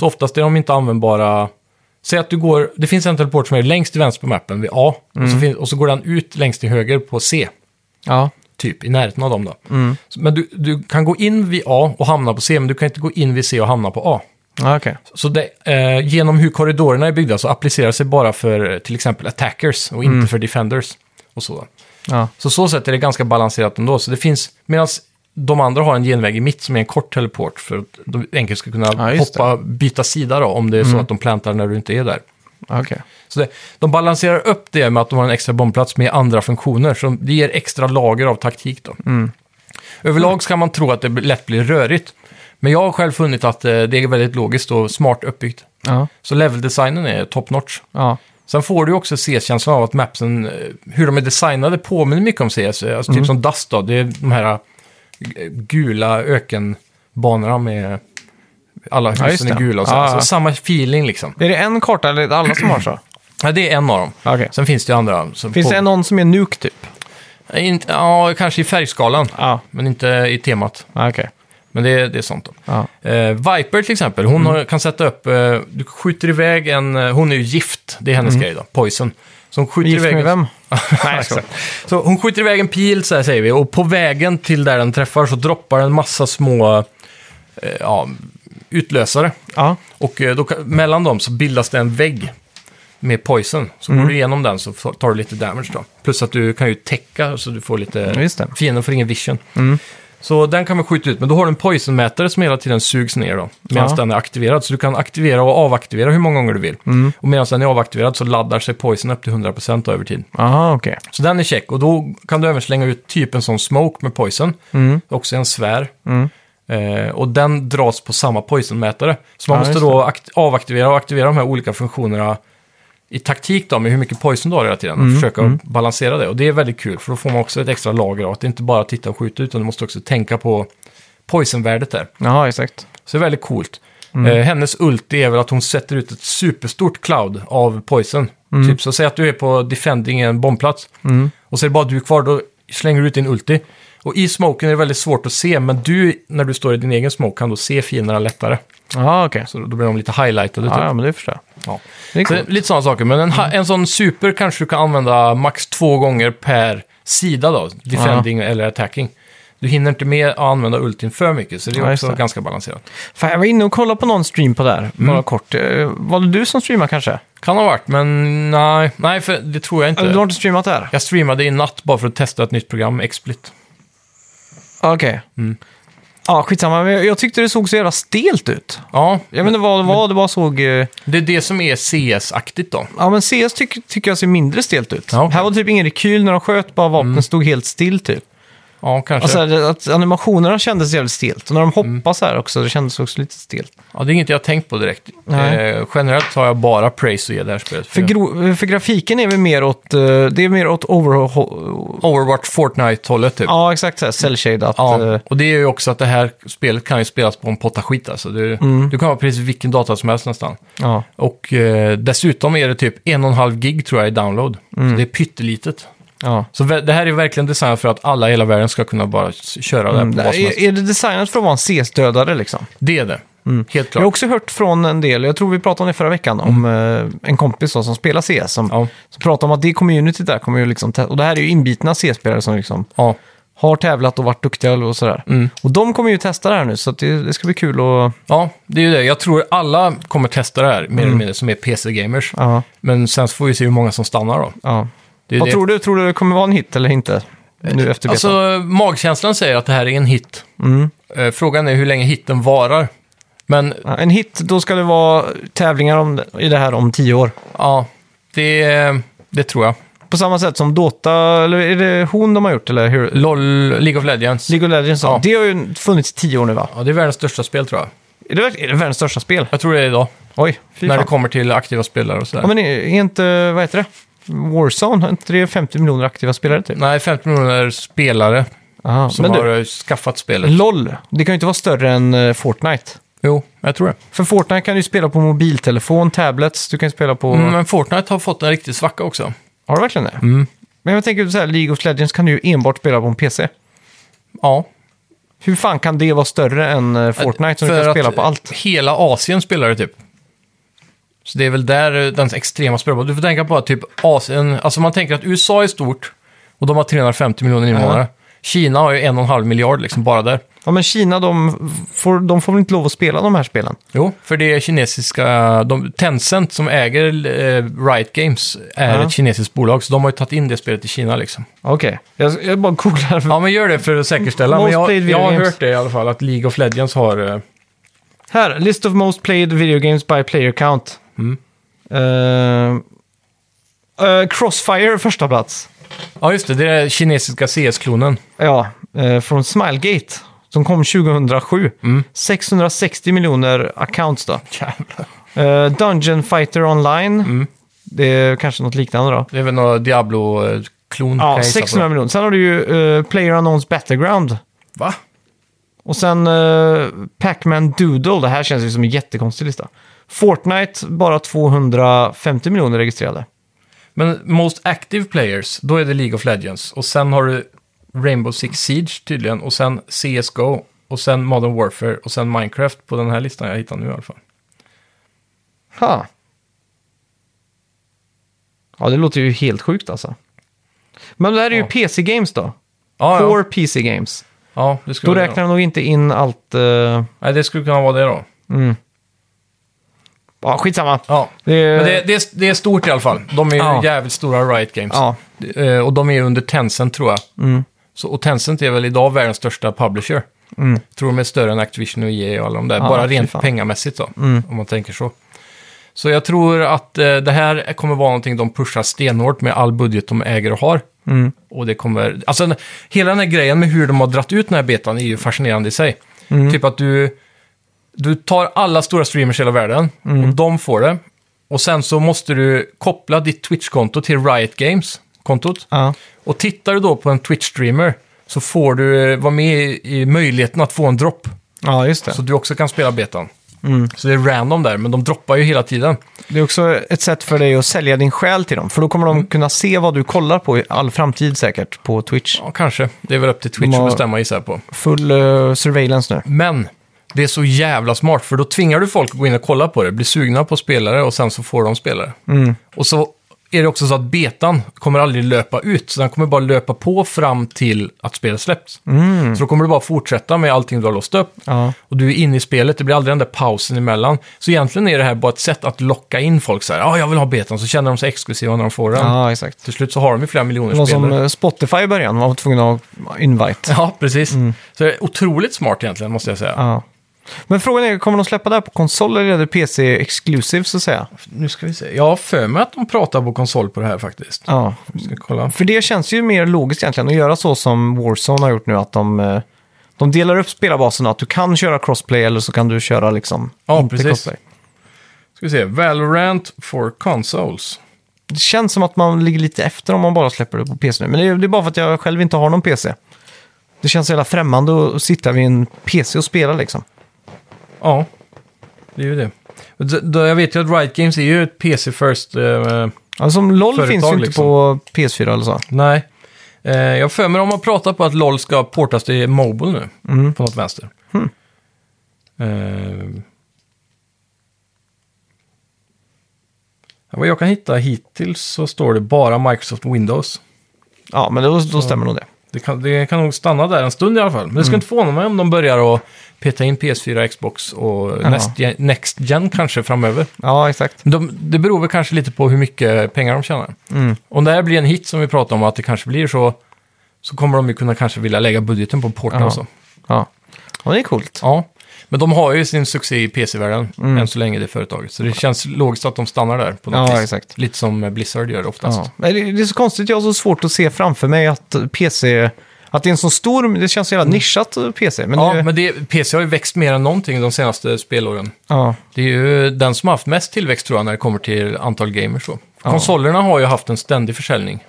B: Så oftast är de inte användbara. Säg att du går, det finns en teleport som är längst till vänster på mappen, vid A, och, så fin, och så går den ut längst till höger på C,
A: Ja.
B: typ, i närheten av dem då. Så, men du, du kan gå in vid A och hamna på C, men du kan inte gå in vid C och hamna på A.
A: Ja, Ah, okej.
B: Så det, eh, genom hur korridorerna är byggda så applicerar sig bara för eh, till exempel attackers och
A: Mm.
B: inte för defenders. Och så.
A: Ja.
B: så så sätt är det ganska balanserat ändå. Så det finns, medan de andra har en genväg i mitt som är en kort teleport för att de enkelt ska kunna
A: Ja, just det. Mm.
B: hoppa, byta sida då, om det är så att de plantar när du inte är där.
A: Okej.
B: Så det, de balanserar upp det med att de har en extra bombplats med andra funktioner. Så det ger extra lager av taktik då.
A: Mm.
B: Överlag ska man tro att det lätt blir rörigt. Men jag har själv funnit att eh, det är väldigt logiskt och smart uppbyggt.
A: Ja.
B: Så leveldesignen är top notch.
A: Ja.
B: Sen får du ju också CS-känslan av att mapsen, eh, hur de är designade, påminner mycket om CS. Alltså
A: Mm.
B: typ som Dust då, det är de här eh, gula ökenbanorna med alla
A: Ja, just
B: husen är
A: det. Ah.
B: gula och så.
A: Ja, ja.
B: Alltså, samma feeling liksom.
A: Är det en karta eller är det alla som har så?
B: Ja, det är en av dem.
A: Okej.
B: Sen finns det ju andra. som
A: Finns
B: på-
A: det någon som är nuke typ?
B: In, ja, kanske i färgskalan,
A: Ja. Ah,
B: men inte i temat.
A: Okej.
B: Men det, är- det är sånt då.
A: Ja.
B: Eh, Viper till exempel,
A: Mm.
B: hon har, kan sätta upp, eh, du skjuter iväg en, eh, hon är ju gift, det är hennes grej då, poison. Så hon skjuter
A: Mm. Gift
B: iväg
A: med
B: en,
A: vem?
B: Nej, exakt. Så hon skjuter iväg en pil, så här säger vi, och på vägen till där den träffar så droppar en massa små eh, ja, utlösare.
A: Ja.
B: Och eh, då, kan- mellan dem så bildas det en vägg med poison. Så
A: Mm.
B: går du igenom den så får- tar du lite damage då. Plus att du kan ju täcka så du får lite...
A: Just det. Mm.
B: Fienden får ingen vision. Så den kan man skjuta ut, men då har du en poisonmätare som hela tiden sugs ner då. Medan
A: Ja.
B: den är aktiverad. Så du kan aktivera och avaktivera hur många gånger du vill.
A: Mm.
B: Och medan den är avaktiverad så laddar sig poison upp till 100% då över tid.
A: Aha, okej.
B: Så den är check. Och då kan du även slänga ut typ en sån smoke med poison.
A: Mm.
B: Också en sfär.
A: Mm.
B: Eh, och den dras på samma poisonmätare. Så man
A: Ja,
B: måste
A: just
B: då akt- avaktivera och aktivera de här olika funktionerna i taktik då, med hur mycket poison du har hela tiden.
A: Mm,
B: Och försöka balansera det. Och det är väldigt kul, för då får man också ett extra lager av att det inte bara att titta och skjuta, utan du måste också tänka på poisonvärdet där.
A: Jaha, exakt.
B: Så det är väldigt coolt.
A: Mm.
B: Eh, hennes ulti är väl att hon sätter ut ett superstort cloud av poison.
A: Mm.
B: Typ så, säg att du är på defending i en bombplats. Och så är det bara du kvar, då slänger du ut din ulti. Och i smoken är det väldigt svårt att se, men du, när du står i din egen smoke, kan då se fienderna lättare.
A: Jaha, okej.
B: Så då blir de lite highlightade.
A: Ja,
B: Typ.
A: ja, men det förstår jag.
B: Ja.
A: Det är
B: Så det är
A: coolt. Mm.
B: lite sådana saker, men en, ha- en sån super kanske du kan använda max två gånger per sida då. Defending eller attacking. Du hinner inte med att använda ultin för mycket, så det
A: Ja,
B: är
A: just
B: också
A: det.
B: ganska balanserat.
A: Fan, jag var inne och kollade på någon stream på det här,
B: Mm.
A: bara kort. Eh, Var det du som streamade kanske?
B: Kan ha varit, men nej, nej för det tror jag inte.
A: Eller du har inte streamat det här?
B: Jag streamade i natt bara för att testa ett nytt program, XSplit.
A: Ah, Okej.
B: Mm.
A: Ja, skitsamma. Men jag- jag tyckte det såg så jävla stelt ut.
B: Ja,
A: Jag vet inte vad det var, det bara såg... eh,
B: det är det som är CS-aktigt då.
A: Ja, men CS tyck- tycker jag ser mindre stelt ut.
B: Ja, okej. Mm.
A: Här var det typ ingen rekyl när de sköt, bara vapnen stod helt still typ.
B: Ja, kanske.
A: Alltså, det- att animationerna kändes jävligt stelt. Och när de
B: Mm.
A: hoppade så här också, det kändes också lite stelt.
B: ja, det är inget jag har tänkt på direkt.
A: Nej.
B: Eh, generellt har jag bara praise att ge det här spelet.
A: För, gro- för grafiken är väl mer åt, eh, det är mer åt overhaul...
B: Overwatch, Fortnite-hållet typ.
A: Ja, eh. exakt så här, cell-shade.
B: Ja, och det är ju också att det här spelet kan ju spelas på en potta skit alltså. Du,
A: Mm.
B: du kan ha precis vilken data som helst nästan.
A: ja.
B: Och eh, dessutom är det typ 1,5 gig tror jag i download.
A: Mm.
B: Så det är pyttelitet.
A: ja.
B: Så vä- det här är verkligen designat för att alla i hela världen ska kunna bara s- köra det här på vad som
A: Är,
B: helst.
A: är Mm, det designat för att vara en CS-dödare liksom?
B: Det är det. Helt
A: Jag har
B: klart. Mm.
A: också hört från en del, jag tror vi pratade om det förra veckan, om eh, en kompis då, som spelar CS. Som,
B: Ja.
A: som pratade om att det communityt där kommer ju liksom... tä- Och det här är ju inbitna CS-spelare som liksom
B: Ja.
A: har tävlat och varit duktiga och sådär.
B: Mm.
A: Och de kommer ju testa det här nu, så att det, det ska bli kul att...
B: ja, det är ju det. Jag tror alla kommer testa det här, mer eller mindre, som är PC-gamers.
A: Mm. Ja,
B: Men sen så får vi se hur många som stannar då.
A: ja.
B: Det är
A: Vad
B: det.
A: tror du? Tror du det kommer vara en hit eller inte? Nu efter
B: Alltså,
A: betan?
B: magkänslan säger att det här är en hit.
A: Mm.
B: Eh, Frågan är hur länge hitten varar. Men
A: Ja, En hit, då ska det vara tävlingar om, i det här om tio år.
B: ja, det, det tror jag.
A: På samma sätt som Dota, eller är det hon de har gjort? Eller hur?
B: LOL, League of Legends.
A: League of Legends,
B: Ja.
A: det har ju funnits i tio år nu va?
B: Ja, det är världens största spel tror jag.
A: Är det, verk- är det världens största spel?
B: Jag tror det är idag.
A: Oj, fy
B: när
A: fan.
B: det kommer till aktiva spelare och sådär.
A: Ja, men är, är inte, vad heter det? Warzone, har inte det 50 miljoner aktiva spelare typ?
B: Nej, 50 miljoner spelare
A: Aha,
B: som
A: men du, Mm.
B: har eh, skaffat spelet.
A: LOL, det kan ju inte vara större än eh, Fortnite.
B: Jo, jag tror det.
A: För Fortnite kan du ju spela på mobiltelefon, tablets, du kan ju spela på...
B: Mm, men Fortnite har fått en riktig svacka också.
A: Har du verkligen det? Men jag tänker så här, League of Legends kan du ju enbart spela på en PC.
B: Ja,
A: Hur fan kan det vara större än eh, Fortnite som du kan spela på allt?
B: hela Asien spelar det typ. Så det är väl där eh, den extrema spelare. Du får tänka på att typ Asien, alltså man tänker att USA är stort och de har 350 miljoner invånare. Kina har ju en och en halv miljard liksom bara där.
A: Ja, men Kina, de får, de får väl inte lov att spela de här spelen?
B: Jo, för det är kinesiska, de, Tencent som äger eh, Riot Games är
A: Ja.
B: ett kinesiskt bolag, så de har ju tagit in det spelet i Kina liksom.
A: Okej, jag, jag bara googlar.
B: Ja, men gör det för att säkerställa.
A: Most
B: Men jag,
A: played video
B: jag har
A: games.
B: hört det i alla fall, att League of Legends har... eh,
A: Här, list of most played video games by player count.
B: Mm.
A: Eh, eh, Crossfire första plats.
B: Ja, just det. Det är kinesiska CS-klonen.
A: Ja, eh, från Smilegate. Som kom 2007.
B: Mm.
A: 660 miljoner accounts då.
B: Jävlar.
A: Eh, Dungeon Fighter Online.
B: Mm.
A: Det är kanske något liknande då.
B: Det är väl någon Diablo-klon? kan
A: Ja,
B: jag gissa på.
A: 600 miljoner. Sen har du ju eh, Player Unknowns Battleground.
B: Va?
A: Och sen eh, Pac-Man Doodle. Det här känns ju som en jättekonstig lista. Fortnite, bara 250 miljoner registrerade.
B: Men Most Active Players, då är det League of Legends. Och sen har du Rainbow Six Siege tydligen. Och sen CSGO. Och sen Modern Warfare. Och sen Minecraft på den här listan jag hittar nu i alla fall.
A: Ha. Ja, det låter ju helt sjukt alltså. Men det här är ju
B: Ja.
A: PC-games då.
B: Ja,
A: Core
B: ja.
A: PC-games.
B: ja det skulle
A: Då
B: vara det
A: räknar de nog inte in allt... eh,
B: Nej, det skulle kunna vara det då.
A: Ja, skitsamma.
B: Ja.
A: Det är-
B: Men det, det, är, det är stort i alla fall. De är ju
A: Ja.
B: jävligt stora Riot Games.
A: Ja. Mm.
B: Eh, Och de är under Tencent tror jag. Så, och Tencent är väl idag världens största publisher. Tror de är större än Activision och EA och alla de där.
A: Mm. Ja,
B: Bara
A: fy
B: rent
A: fan. Mm.
B: pengamässigt då, om man tänker så. Så jag tror att eh, det här kommer vara någonting de pushar stenhårt med all budget de äger och har.
A: Mm.
B: Och det kommer, alltså n- hela den här grejen med hur de har dratt ut den här betan är ju fascinerande i sig.
A: Mm.
B: Typ att du, du tar alla stora streamers i hela världen
A: Mm.
B: och de får det. Och sen så måste du koppla ditt Twitch-konto till Riot Games-kontot.
A: Ja.
B: Och tittar du då på en Twitch-streamer så får du eh, vara med i, i möjligheten att få en dropp.
A: ja, just det.
B: Så du också kan spela betan.
A: Mm.
B: Så det är random där, men de droppar ju hela tiden.
A: Det är också ett sätt för dig att sälja din själ till dem. För då kommer de kunna se vad du kollar på i all framtid säkert på Twitch.
B: Ja, kanske. Det är väl upp till Twitch
A: De har-
B: att bestämma gissar jag på.
A: Full eh, surveillance nu.
B: Men det är så jävla smart, för då tvingar du folk att gå in och kolla på det, bli sugna på spelare och sen så får de spelare.
A: Mm.
B: Och så är det också så att betan kommer aldrig löpa ut, så den kommer bara löpa på fram till att spelet släpps. Så då kommer du bara fortsätta med allting du har låst upp.
A: Mm. Ja.
B: Och du är inne i spelet, det blir aldrig den där pausen emellan. Så egentligen är det här bara ett sätt att locka in folk så här, ja, ah, jag vill ha betan, så känner de sig exklusiva när de får den.
A: Ja, exakt.
B: Till slut så har de ju flera miljoner
A: Det var
B: spelare.
A: som eh, Spotify i början, man var tvungen att ha invite.
B: Ja, precis. Så det är otroligt smart egentligen, måste jag säga.
A: Mm. Ja. Men frågan är, kommer de släppa det här på konsol eller är det PC exclusive så att säga?
B: Nu ska vi se. Jag har för mig att de pratar på konsol på det här faktiskt.
A: Ja.
B: Vi ska kolla.
A: För det känns ju mer logiskt egentligen att göra så som Warzone har gjort nu, att de, eh, de delar upp spelarbasen att du kan köra crossplay eller så kan du köra liksom
B: Ja,
A: inte
B: precis.
A: crossplay.
B: Ska vi se. Valorant for consoles.
A: Det känns som att man ligger lite efter om man bara släpper det på PC nu. Men det är, det är bara för att jag själv inte har någon PC. Det känns så jävla främmande att sitta vid en PC och spela liksom.
B: Ja, det är ju det. D- då jag vet ju att Riot Games är ju ett PC first. Eh,
A: Ja, som LOL
B: Företag,
A: finns ju inte
B: liksom.
A: på PS4 eller så.
B: nej. Eh, jag har för mig om man pratar på att LOL ska portas till Mobile nu. På något vänster. Eh, vad jag kan hitta hittills så står det bara Microsoft Windows.
A: Ja, men då, då stämmer nog det.
B: Det kan, det kan nog stanna där en stund i alla fall. Men det
A: Mm.
B: ska inte förvåna mig om de börjar att peta in PS4, Xbox och
A: Ja.
B: Next, gen, next Gen kanske framöver.
A: Ja, exakt.
B: Men De, det beror väl kanske lite på hur mycket pengar de tjänar.
A: Mm.
B: Om det här blir en hit som vi pratar om, att det kanske blir så, så kommer de ju kunna kanske vilja lägga budgeten på porten
A: Ja.
B: och så.
A: Ja. ja, det är coolt.
B: Ja. Men de har ju sin succé i PC-världen än så länge, det företaget. Så det känns logiskt att de stannar där på något
A: Mm. Ja,
B: vis.
A: exakt.
B: Lite som Blizzard gör oftast.
A: Ja. Men Det det är så konstigt, jag har så svårt att se framför mig att PC... Att det är en så stor... Det känns så jävla nischat eh, PC. Men
B: Mm. Ja,
A: det,
B: men det, PC har ju växt mer än någonting de senaste spelåren.
A: ja.
B: Det är ju den som har haft mest tillväxt tror jag när det kommer till antal gamers. Så. Konsolerna har ju haft en ständig försäljning.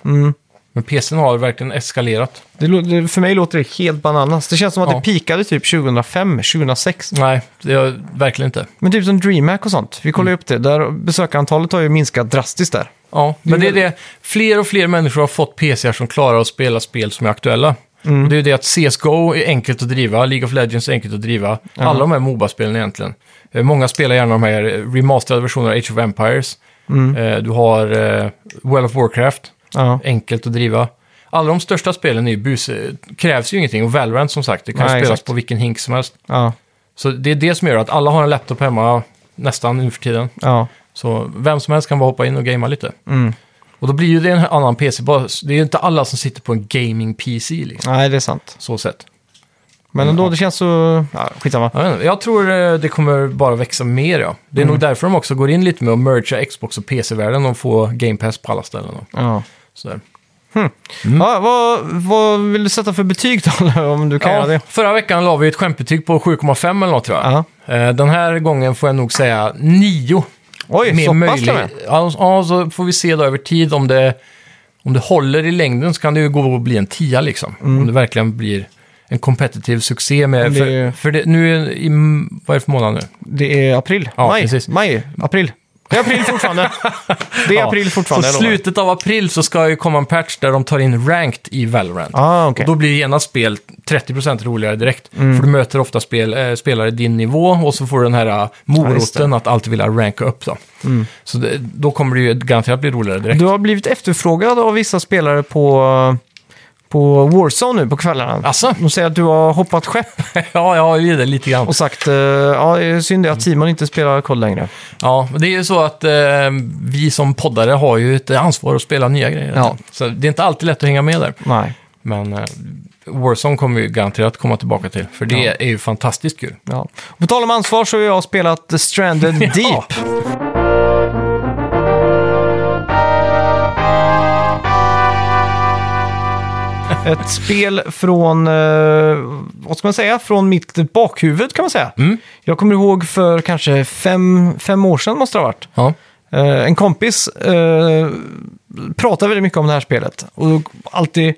B: Men PCn har verkligen eskalerat.
A: Det, lå- det, för mig låter det helt bananas. Det känns som att
B: Ja.
A: det pikade typ 2005, 2006.
B: Nej, det är verkligen inte.
A: Men typ som DreamHack och sånt. Vi
B: Mm.
A: kollade ju upp det. Där besökarantalet har ju minskat drastiskt där.
B: Ja, men det är
A: väl-
B: det. Fler och fler människor har fått PCar som klarar att spela spel som är aktuella. Och det är ju det att CSGO är enkelt att driva, League of Legends är enkelt att driva. Alla de här Moba-spelen egentligen. Eh, Många spelar gärna de här eh, remasterade versionerna av Age of Empires. Eh, Du har eh, World of Warcraft.
A: Ja.
B: enkelt att driva. Alla de största spelen är ju bus, krävs ju ingenting och Valorant som sagt, det kan
A: Nej,
B: spelas
A: exakt.
B: på vilken hink som helst.
A: Ja.
B: Så det är det som gör att alla har en laptop hemma nästan nu för tiden.
A: Ja.
B: Så vem som helst kan bara hoppa in och gamea lite.
A: Mm.
B: Och då blir ju det en annan PC, bara, det är ju inte alla som sitter på en gaming-PC liksom.
A: Nej, det är sant.
B: Så sett.
A: Men ändå, det känns så... Ja, skitsamma.
B: Jag, vet inte, jag tror eh, det kommer bara växa mer ja. Det är
A: Mm.
B: nog därför de också går in lite med att mergea Xbox och PC-världen och få Game Pass på alla ställen. Och
A: Ja.
B: sådär. Mm.
A: Ja, vad, vad vill du sätta för betyg då, om du kan göra
B: Ja,
A: det?
B: förra veckan la vi ett skämtbetyg på 7,5 eller något tror jag.
A: Ja.
B: Eh, Den här gången får jag nog säga 9.
A: Oj, så pass till och med.
B: Ja, ja, så får vi se då över tid om det, om det håller i längden så kan det ju gå att bli en 10 liksom. Om det verkligen blir en kompetitiv succé med...
A: Mm. Det-
B: För, för det, nu är i, vad är det för månad nu?
A: Det är april.
B: Ja,
A: maj.
B: precis.
A: Maj. April. Det är april fortfarande. Det är april fortfarande.
B: Så
A: jag lovar.
B: slutet av april så ska ju komma en patch där de tar in ranked i Valorant.
A: Ah, okej. Mm.
B: Och då blir genast spel 30% roligare direkt. För du möter ofta spel, eh, spelare i din nivå och så får du den här eh,
A: just det. Mm.
B: moroten att alltid vilja ranka upp. Då. Så det, då kommer det ju garanterat bli roligare direkt.
A: Du har blivit efterfrågad av vissa spelare på, på Warzone nu på kvällarna.
B: Asså?
A: De säger att du har hoppat skepp
B: ja, jag har ju det lite grann.
A: och sagt eh, ja, det är synd det att Simon inte spelar kod längre.
B: Ja, men det är ju så att eh, vi som poddare har ju ett ansvar att spela nya grejer.
A: Ja.
B: Så det är inte alltid lätt att hänga med där.
A: Nej.
B: Men eh, Warzone kommer vi garanterat komma tillbaka till, för det
A: Ja.
B: är ju fantastiskt kul.
A: Ja. Och På tal om ansvar så har jag spelat The Stranded Deep. Ett spel från, eh, vad ska man säga, från mitt bakhuvud kan man säga. Jag kommer ihåg för kanske fem, fem år sedan måste det ha varit.
B: Ja.
A: Eh, en kompis eh, pratade väldigt mycket om det här spelet och alltid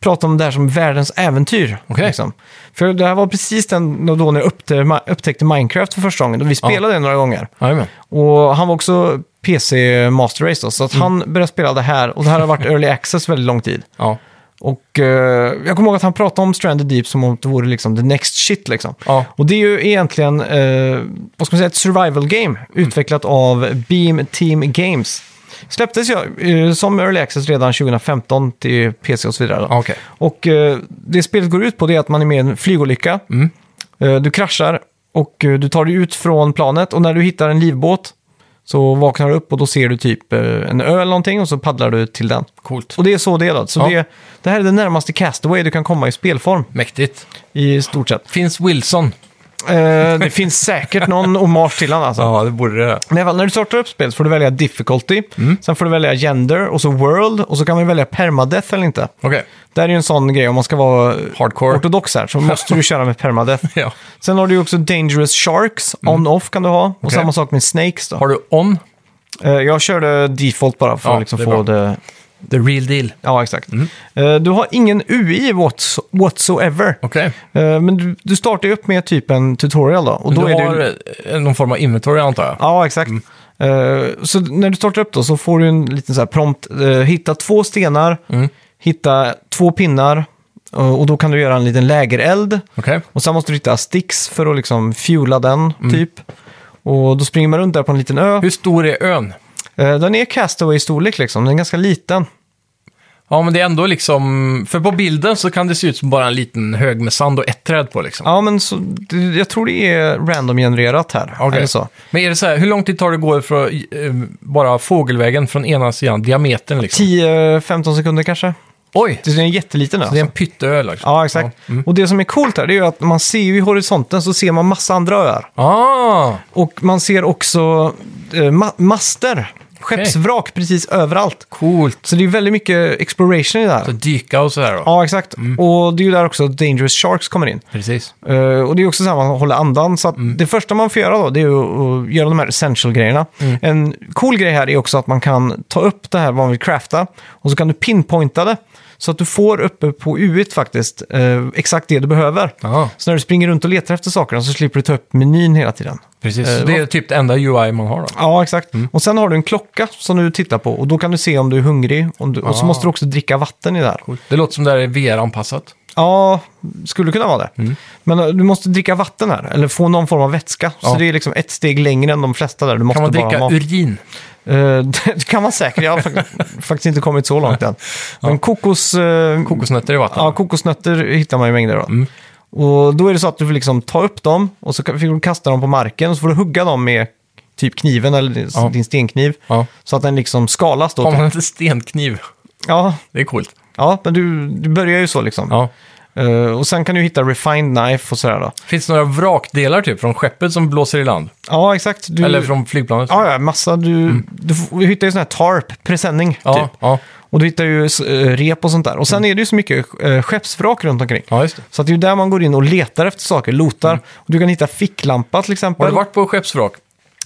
A: pratade om det här som världens äventyr.
B: Okej.
A: liksom. För det här var precis den då när jag uppte, upptäckte Minecraft för första gången och vi spelade det några gånger.
B: Jajamän.
A: Och han var också PC Master Race då, så att han började spela det här och det här har varit Early Access väldigt lång tid.
B: Ja.
A: Och eh, jag kommer ihåg att han pratade om Stranded Deep som om det vore liksom the next shit liksom.
B: Ja.
A: Och det är ju egentligen, eh, vad ska man säga, ett survival game utvecklat av Beam Team Games. Släpptes jag, eh, som Early Access redan 2015 till PC och så vidare. då.
B: Ja, okej.
A: Och eh, det spelet går ut på det är att man är med i en flygolycka.
B: Mm.
A: Eh, du kraschar och eh, du tar dig ut från planet och när du hittar en livbåt så vaknar du upp och då ser du typ eh, en ö eller någonting och så paddlar du till den.
B: Coolt.
A: Och det är så det är då. Så
B: Ja.
A: det, det här är det närmaste castaway du kan komma i spelform,
B: Mäktigt.
A: i stort sett.
B: Finns Wilson?
A: Eh, det finns säkert någon hommage till honom alltså.
B: det borde det.
A: Men i alla fall, när du startar upp spelet får du välja difficulty,
B: Mm.
A: sen får du välja gender och så world och så kan man välja permadeath eller inte.
B: Okej.
A: Det här är ju en sån grej om man ska vara
B: Hardcore.
A: ortodox här så måste du köra med permadeath.
B: Ja. Mm.
A: Sen har du ju också dangerous sharks, on-off kan du ha. Och
B: Okej.
A: samma sak med snakes då.
B: Har du On?
A: Eh, jag körde default bara för
B: Ja,
A: att liksom
B: det är
A: få
B: bra. Mm.
A: det...
B: The real deal.
A: Ja, exakt. Eh, du har ingen UI whats- whatsoever.
B: Okej.
A: Eh, Men du, du startar ju upp med typ en tutorial då. Och då
B: du
A: är
B: har
A: det,
B: eh, någon form av inventory antar jag?
A: ja, exakt.
B: Mm.
A: Eh, så när du startar upp då så får du en liten så här prompt. eh, hitta två stenar,
B: Mm.
A: hitta två pinnar eh, och då kan du göra en liten lägereld.
B: Okej.
A: Och sen måste du hitta sticks för att liksom fuela den typ. Och då springer man runt där på en liten ö.
B: Mm. Hur stor är ön?
A: Eh, den är castaway-storlek liksom, den är ganska liten.
B: Ja, men det är ändå liksom... För på bilden så kan det se ut som bara en liten hög med sand och ett träd på liksom.
A: Ja, men så, det- jag tror det är random-genererat här.
B: Okej.
A: Eller så.
B: Men är det så här, hur lång tid tar det att gå från, eh, bara fågelvägen från ena sidan, diametern liksom?
A: 10-15 sekunder kanske.
B: Oj!
A: Det är en jätteliten ö.
B: Det är
A: Alltså.
B: en pytteö liksom.
A: Ja, exakt. Och det som är coolt här det är ju att man ser ju i horisonten så ser man massa andra öar.
B: Ah,
A: Och man ser också eh, ma- master, skeppsvrak precis överallt.
B: coolt.
A: Så det är väldigt mycket exploration i det
B: Så
A: här.
B: dyka och sådär då.
A: Ja, exakt. Och det är ju där också Dangerous Sharks kommer in.
B: Precis.
A: Eh, och det är också så här man håller andan. Så att det första man får göra då, det är ju att göra de här essential-grejerna. En cool grej här är också att man kan ta upp det här man vill crafta och så kan du pinpointa det. Så att du får uppe på U1 faktiskt eh, exakt det du behöver.
B: Ja,
A: Så när du springer runt och letar efter sakerna så slipper du ta upp menyn hela tiden.
B: precis.
A: Eh,
B: Så det är typ det enda UI man har då.
A: Ja, exakt.
B: Mm.
A: Och sen har du en klocka som du tittar på och då kan du se om du är hungrig. Om du, Och så
B: Ah.
A: måste du också dricka vatten i det här.
B: Det låter som det här är VR-anpassat.
A: Ja, skulle kunna vara det.
B: Mm.
A: Men eh, du måste dricka vatten här, eller få någon form av vätska. Så
B: Ja.
A: det är liksom ett steg längre än de flesta där. Du måste
B: Kan man
A: bara
B: dricka
A: ma-
B: urin?
A: Eh, Det kan man säkert, jag har fak- faktiskt inte kommit så långt än. Men kokos, eh,
B: Kokosnötter i vatten?
A: ja, kokosnötter hittar man i mängder då.
B: Mm.
A: Och då är det så att du får liksom ta upp dem och så kan- får du kasta dem på marken och så får du hugga dem med typ kniven eller din,
B: Ja.
A: din stenkniv.
B: Ja.
A: Så att den liksom skalas då.
B: Har man inte stenkniv?
A: Ja,
B: Det är coolt.
A: ja, men du, du börjar ju så liksom.
B: Ja.
A: Eh, och sen kan du hitta refined knife och sådär då.
B: Finns det några vrakdelar typ från skeppet som blåser i land?
A: Ja, exakt. Du,
B: Eller från flygplanet?
A: Mm. Ja, ja, massa. Du, du, får- du hittar ju sån här tarp, presenning,
B: ja, Mm.
A: typ.
B: ja.
A: Och du hittar ju s- eh, rep och sånt där. Och sen är det ju så mycket eh, skeppsvrak runt omkring.
B: ja just det.
A: Så att det är ju där man går in och letar efter saker, lotar. Och du kan hitta ficklampa till exempel.
B: Mm. Har du varit på skeppsvrak?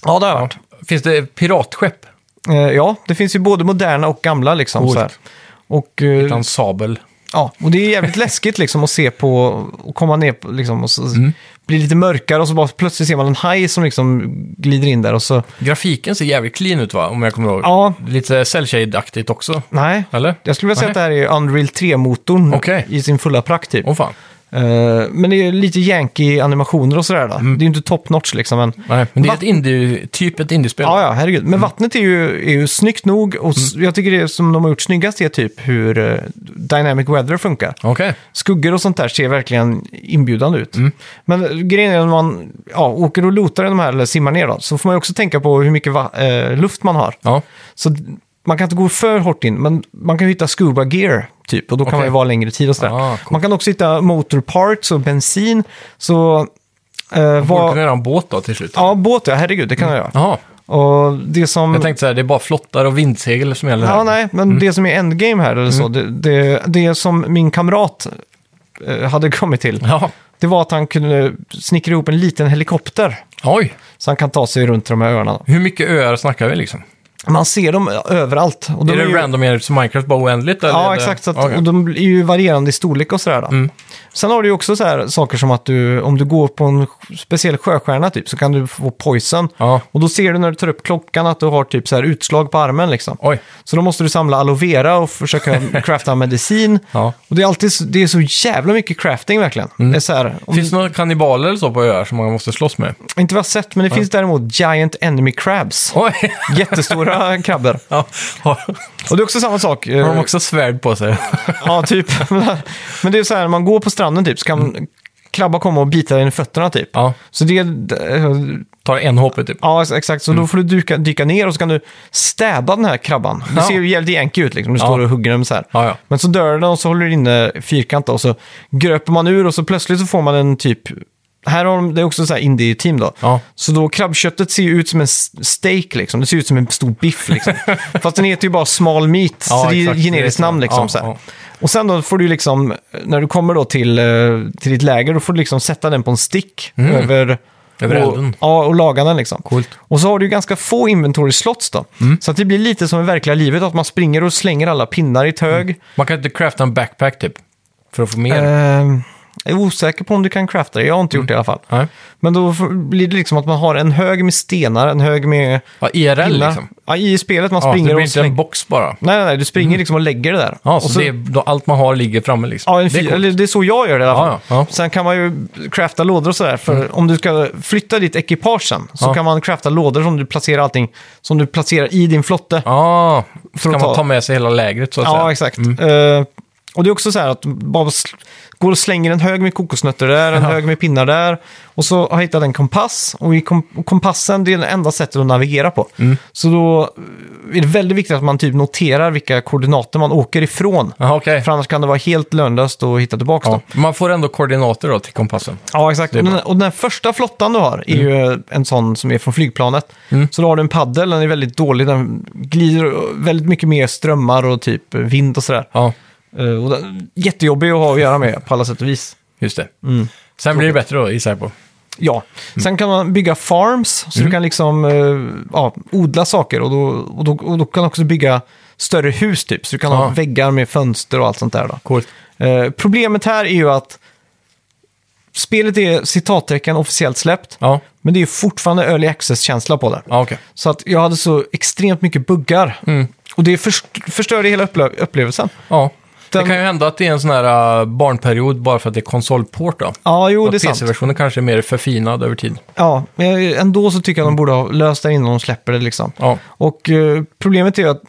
A: Ja, det har jag varit.
B: Finns det piratskepp?
A: Eh, ja, det finns ju både moderna och gamla liksom.
B: Coolt.
A: Så här. Och, eh,
B: Utan sabel?
A: ja, och det är jävligt läskigt liksom att se på, och komma ner på, liksom, och så
B: Mm.
A: blir lite mörkare och så bara plötsligt ser man en haj som liksom glider in där och så,
B: Grafiken ser jävligt clean ut va? Om jag kommer ihåg.
A: ja,
B: Lite cellshade-aktigt också.
A: nej.
B: Eller?
A: Jag skulle vilja säga
B: Nej.
A: att det här är Unreal 3-motorn
B: Okej.
A: i sin fulla prakt typ.
B: Åh fan.
A: Eh, men det är lite yankee animationer och sådär. Då. Det är ju inte top notch liksom. Men,
B: Mm. Nej, men det är
A: Va-
B: ett indie, typ ett indiespel.
A: ja, ja, herregud.
B: Mm.
A: Men vattnet är ju, är ju snyggt nog och s- jag tycker det som de har gjort snyggast är typ hur eh, Dynamic Weather funkar.
B: Okej.
A: Skuggor och sånt där ser verkligen inbjudande ut.
B: Mm.
A: Men eh, grejen är när man ja, åker och lotar i de här eller simmar ner då, så får man ju också tänka på hur mycket va- eh, luft man har.
B: Ja.
A: Så d- man kan inte gå för hårt in, men man kan ju hitta scuba gear typ. Och då kan
B: Okej.
A: man ju vara längre tid och sådär.
B: Ah, coolt.
A: Man kan också hitta motor parts och bensin. Så... Eh,
B: Borde kunna
A: vad,
B: göra en båt då till slut?
A: ja, båt ja, herregud, det kan jag göra.
B: Jaha.
A: Och det som...
B: Mm. Jag tänkte så här, det är bara flottar och vindsegel som gäller
A: Mm. Ja,
B: här.
A: nej, men det som är endgame här, eller så, det,
B: Mm.
A: det, det som min kamrat eh, hade kommit till,
B: Ja,
A: det var att han kunde snickra ihop en liten helikopter.
B: oj.
A: Så han kan ta sig runt de här öarna.
B: Hur mycket öar snackar vi liksom?
A: Man ser dem överallt. Och de
B: är det
A: ju,
B: random enheter som Minecraft bara oändligt? Eller är
A: Ja,
B: det...
A: exakt. Så att,
B: Okej. Mm.
A: Och de är ju varierande i storlek och sådär. Då. Sen har du ju också så här, saker som att du, om du går på en speciell sjöstjärna typ, så kan du få poison.
B: Ja,
A: Och då ser du när du tar upp klockan att du har typ så här utslag på armen liksom.
B: oj.
A: Så då måste du samla aloe vera och försöka crafta medicin.
B: Ja.
A: Och det är alltid så, det är så jävla mycket crafting verkligen. Det är så här, om,
B: Mm. Finns det några kannibaler eller så på öar som man måste slåss med?
A: Inte vad jag har sett, men det finns däremot giant enemy crabs.
B: Oj!
A: Jättestora krabbor.
B: Ja. Har,
A: Och det är också samma sak.
B: har de
A: eh,
B: också svärd på sig?
A: ja, typ. men det är så här, när man går på stranden typ så kan krabba komma och bita dig i fötterna typ.
B: Mm. Ja,
A: Så det, eh,
B: tar en HP typ.
A: ja exakt. Så då får du dyka, dyka ner och så kan du stäba den här krabban. Det
B: Ja.
A: ser ju jävligt jänky ut liksom, du står och hugger dem så här.
B: Ja, ja.
A: Men så dör den och så håller du inne fyrkant då, och så gröper man ur och så plötsligt så får man en typ... Här har de, det är också så här indie-team då.
B: Ja.
A: Så då krabbköttet ser ju ut som en s- steak liksom. Det ser ut som en stor biff liksom. Fast den heter ju bara small meat, så
B: Ja,
A: det är
B: exakt.
A: ju generiskt
B: Det är så.
A: namn liksom.
B: Ja,
A: så här.
B: ja.
A: Och sen då får du ju liksom, när du kommer då till, eh, till ditt läger, då får du liksom sätta den på en stick över...
B: Mm. Över
A: och,
B: elden.
A: Ja, och laga den liksom.
B: Coolt. Mm.
A: Och så har du ju ganska få inventory slots då. Så att det blir lite som i verkliga livet, att man springer och slänger alla pinnar i ett hög.
B: Man kan inte crafta en backpack typ? För att få mer?
A: Eh, jag är osäker på om du kan crafta det. Jag har inte
B: Mm.
A: gjort det i alla fall.
B: Nej.
A: Men då får- blir det liksom att man har en hög med stenar, en hög med
B: Ja, IRL
A: pinnar.
B: liksom?
A: Ja, I spelet man
B: Ja, det
A: springer
B: blir
A: och
B: inte en
A: slänger.
B: box bara.
A: Nej, nej, nej, du springer liksom och lägger det där.
B: Ja,
A: Och
B: så, det är, då, allt man har ligger framme liksom?
A: Ja, en
B: det är
A: fyr,
B: coolt.
A: eller det är så jag gör det i alla fall.
B: Ja, ja, ja.
A: Sen kan man ju crafta lådor och sådär. För om du ska flytta ditt ekipage sen så
B: Ja.
A: kan man crafta lådor som du placerar allting som du placerar i din flotte.
B: Ja, så
A: att
B: kan
A: ta-
B: man ta med sig hela lägret så att
A: Ja,
B: säga. Mm.
A: exakt. Eh, och det är också så här att bara sl- går och slänger en hög med kokosnötter där, en
B: Ja.
A: hög med pinnar där. Och så har jag hittat en kompass. Och i kom och kompassen, det är det enda sättet att navigera på.
B: Mm.
A: Så då är det väldigt viktigt att man typ noterar vilka koordinater man åker ifrån.
B: Ja, okej.
A: För annars kan det vara helt lönlöst att hitta tillbaka.
B: Ja.
A: Ja,
B: Man får ändå koordinater då till kompassen.
A: ja exakt.
B: Det är
A: Och
B: bra. Mm.
A: den, och den här första flottan du har är ju en sån som är från flygplanet. Så då har du en paddel, den är väldigt dålig, den glider väldigt mycket mer strömmar och typ vind och sådär.
B: Ja,
A: Eh, Och den, jättejobbig att ha att göra med på alla sätt och vis.
B: just det.
A: Mm.
B: Sen blir det bättre då, gissar jag på.
A: Ja, sen kan man bygga farms, så du kan liksom eh, ja, odla saker och då, och, då, och då kan du också bygga större hus typ. Så du kan
B: Ja.
A: ha väggar med fönster och allt sånt där. Då.
B: Coolt.
A: Eh, problemet här är ju att spelet är citattecken officiellt släppt,
B: Ja,
A: men det är ju fortfarande early access-känsla på det.
B: ja okej.
A: Så att jag hade så extremt mycket buggar. Och det först- förstörde hela upple- upplevelsen.
B: Ja.
A: Den-
B: Det kan ju hända att det är en sån här äh, barnperiod bara för att det är konsolport då.
A: Ja, jo,
B: Och
A: Oh, det är sant.
B: PC-versionen kanske är mer förfinad över tid.
A: Ja, men jag- ändå så tycker jag de borde ha löst det innan de släpper det liksom.
B: Ja,
A: Och eh, problemet är ju att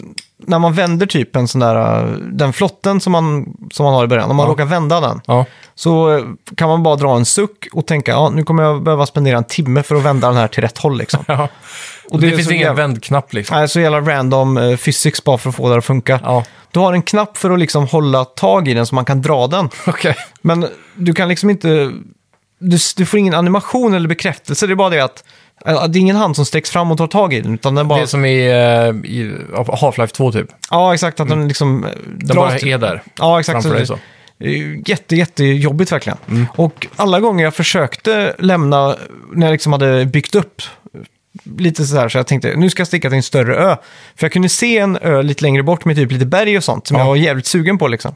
A: när man vänder typ en sån där, eh, den flotten som man, som man har i början, om man
B: Ja.
A: råkar vända den,
B: ja.
A: så eh, kan man bara dra en suck och tänka, ja nu kommer jag behöva spendera en timme för att vända den här till rätt håll liksom.
B: ja.
A: Och
B: det,
A: är
B: finns
A: så
B: ingen
A: jävla-
B: vändknapp liksom.
A: Nej, så jävla random eh, physics bara för att få det att funka.
B: Ja,
A: Du har en knapp för att liksom hålla tag i den så man kan dra den.
B: okej.
A: Men du kan liksom inte... Du, du får ingen animation eller bekräftelse. Det är bara det att eh, det är ingen hand som sträcks fram och tar tag i den. Utan den
B: Det
A: bara...
B: är som i, eh, i Half-Life 2 typ.
A: Ja, exakt. Att den liksom... eh,
B: Den
A: dras
B: bara
A: till-
B: är där
A: Ja, exakt.
B: framför
A: Så
B: dig
A: det-
B: så. Mm.
A: det är ju Jätte, jättejobbigt verkligen. Och alla gånger jag försökte lämna, när jag liksom hade byggt upp lite så här, så jag tänkte nu ska jag sticka till en större ö. För jag kunde se en ö lite längre bort med typ lite berg och sånt som jag var jävligt sugen på liksom.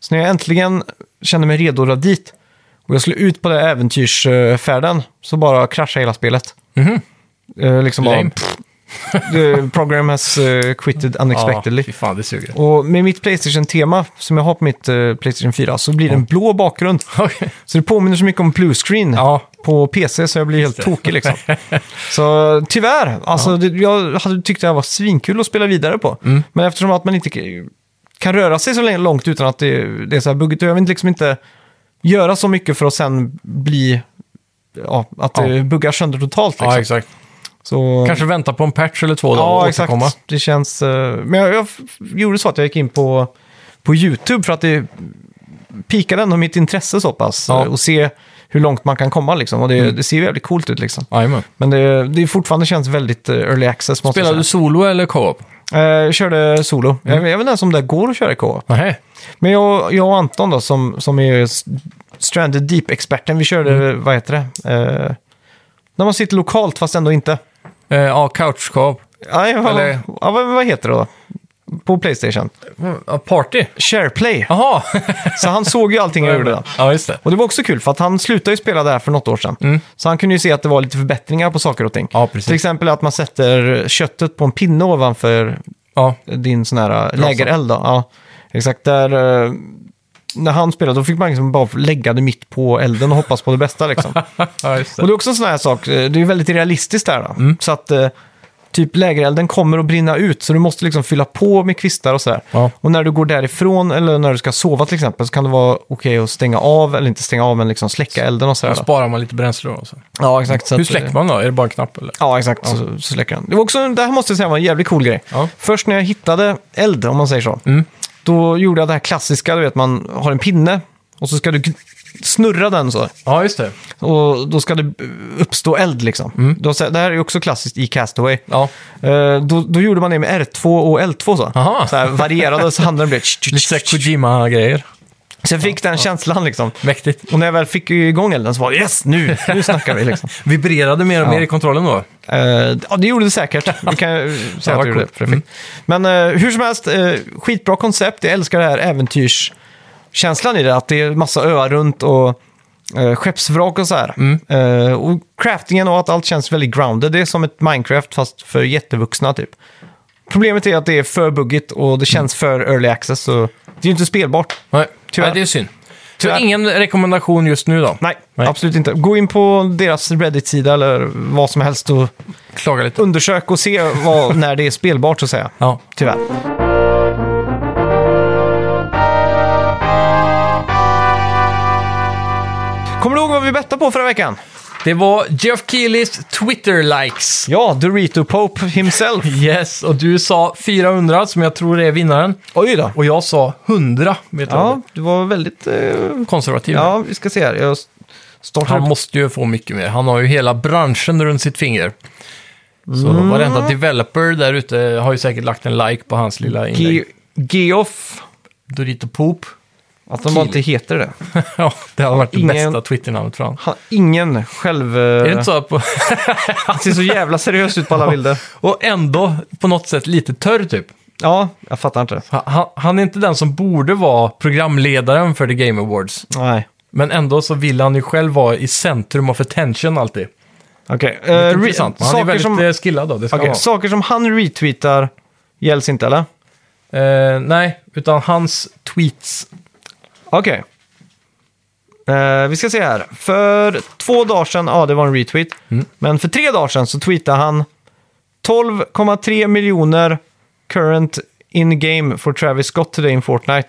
A: Så när jag äntligen kände mig redo att dra dit och jag skulle ut på den här äventyrsfärden så bara kraschade hela spelet. Eh, liksom bara,
B: Mhm. Lame.
A: pff, the program has eh, quitted unexpectedly.
B: Ja, fy fan, det suger.
A: Och med mitt Playstation-tema, som jag har på mitt eh, Playstation 4, så blir det en blå bakgrund.
B: Okej.
A: Så det påminner så mycket om bluescreen
B: Ja.
A: på PC, så jag blir helt tokig liksom. så tyvärr, alltså, det, jag hade tyckt det här var svinkul att spela vidare på.
B: Mm.
A: Men eftersom att man inte k- kan röra sig så länge- långt utan att det, det är så här buggigt, och jag vill liksom inte göra så mycket för att sen bli... Ja, att
B: Ja.
A: det buggar sönder totalt liksom.
B: Ja, exakt.
A: Så,
B: Kanske vänta på en patch eller två dagar och
A: Ja, exakt.
B: återkomma.
A: Det känns... eh, men jag, jag f- gjorde så att jag gick in på, på YouTube för att det pikade ändå mitt intresse så pass.
B: Ja. Mm.
A: eh, Och se hur långt man kan komma liksom. Och det, det ser ju jävligt coolt ut liksom.
B: Jajamän.
A: Men det, det är fortfarande känns väldigt eh, early access måste
B: Spelar du Mm.
A: jag
B: solo eller co-op?
A: säga. Eh, jag körde solo. Jag, vet- jag vet inte ens om det går att köra i KO.
B: Nej.
A: Men jag, jag och Anton då, som, som är s- Stranded Deep-experten, vi körde,
B: Mm.
A: vad heter det? Eh, när man sitter lokalt fast ändå inte.
B: Eh, ja, couch co-op.
A: Nej, vad,
B: Eller-
A: ja, vad, vad heter det då? På Playstation.
B: Ja, party.
A: SharePlay.
B: Jaha!
A: Så han såg ju allting jag gjorde. då.
B: ja, just det.
A: Och det var också kul för att han slutade ju spela det här för något år sedan. Så han kunde ju se att det var lite förbättringar på saker och ting.
B: Mm. Ja, precis.
A: Till exempel att man sätter köttet på en pinne ovanför
B: Ja,
A: din sån här äh, lägereld. Då. Ja, exakt. Där, eh, när han spelade då fick man liksom bara lägga det mitt på elden och hoppas på det bästa. Liksom.
B: ja just
A: och
B: det.
A: det är också en sån här sak, eh, det är väldigt realistiskt där. Då. Så att eh, typ lägerelden kommer att brinna ut så du måste liksom fylla på med kvistar och sådär.
B: Ja.
A: Och när du går därifrån eller när du ska sova till exempel så kan det vara okej att stänga av, eller inte stänga av men liksom släcka elden och sådär.
B: Då
A: då.
B: sparar man lite bränsle då. Så.
A: Ja, exakt. Så
B: Hur
A: att, eh,
B: släcker man då? Är det bara en knapp eller?
A: Ja, exakt. Så, så släcker den. Det, var också, det här måste jag säga var en jävligt cool grej.
B: Ja.
A: Först när jag hittade eld, om man säger så,
B: Mm.
A: då gjorde jag det här klassiska, du vet, man har en pinne och så ska du gn- snurra den så.
B: Ja, just det.
A: Och då ska det eh, uppstå eld liksom. Då, så- det här är ju också klassiskt i Castaway.
B: Ja.
A: Eh, då, då gjorde man det med R2 och L2 så.
B: Aha.
A: Så här varierade så handen blev...
B: Lite såhär Kojima-grejer.
A: Så jag fick den känslan liksom.
B: Mäktigt.
A: Och när jag väl fick igång elden så var det yes, nu, nu snackar vi liksom.
B: Vibrerade mer och mer i kontrollen då.
A: Eh, ja, det gjorde det säkert. Vi kan ju säga att
B: vad
A: det gjorde
B: coolt.
A: det. Mm. Men eh, hur som helst, eh, skitbra koncept. Jag älskar det här äventyrskänslan i det. Att det är massa öar runt och eh, skeppsvrak och så här.
B: Mm.
A: Eh, och craftingen och att allt känns väldigt grounded. Det är som ett Minecraft fast för jättevuxna typ. Problemet är att det är för buggigt och det känns
B: Mm.
A: för early access. Så det är ju inte spelbart.
B: Nej,
A: Tyvärr.
B: Nej det är synd.
A: Tyvärr.
B: Så ingen rekommendation just nu då?
A: Nej,
B: Nej.
A: absolut inte. Gå in på deras Reddit-sida eller vad som helst och
B: Klaga lite.
A: undersök och se vad, när det är spelbart så att säga.
B: Ja.
A: Tyvärr. Kommer du ihåg vad vi bettade på förra veckan?
B: Det var Jeff Keelys Twitter-likes.
A: Ja, Dorito Pope himself.
B: Yes, och du sa 400 som jag tror är vinnaren.
A: Oj då.
B: Och jag sa 100. Vet du
A: Ja,
B: vad?
A: du var väldigt... Eh,
B: Konservativ.
A: ja, vi ska se här. Jag startar
B: Han
A: upp.
B: måste ju få mycket mer. Han har ju hela branschen runt sitt finger. Så
A: Mm.
B: varenda developer där ute har ju säkert lagt en like på hans lilla inlägg.
A: Ge- Geoff.
B: Dorito Poop.
A: Att de bara inte heter det.
B: ja, det har varit det
A: Ingen-
B: bästa Twitternamnet för honom.
A: Han, ingen själv... eh,
B: Är det inte så? att På...
A: Han ser så jävla seriös ut på alla bilder.
B: och ändå på något sätt lite törr typ.
A: Ja, jag fattar inte. det.
B: Han, han är inte den som borde vara programledaren för The Game Awards.
A: Nej.
B: Men ändå så vill han ju själv vara i centrum of attention alltid.
A: Okej. eh, re-
B: Intressant. Han är
A: saker
B: väldigt
A: som-
B: eh, skillad då, det ska
A: Okej,
B: han
A: Saker som han retweetar gälls inte, eller?
B: vara. Eh, nej, utan hans tweets.
A: Okej. Eh, vi ska se här. För två dagar sedan, ja det var en retweet.
B: Mm.
A: Men för tre dagar sedan så tweetade han 12,3 miljoner current in-game for Travis Scott today in Fortnite.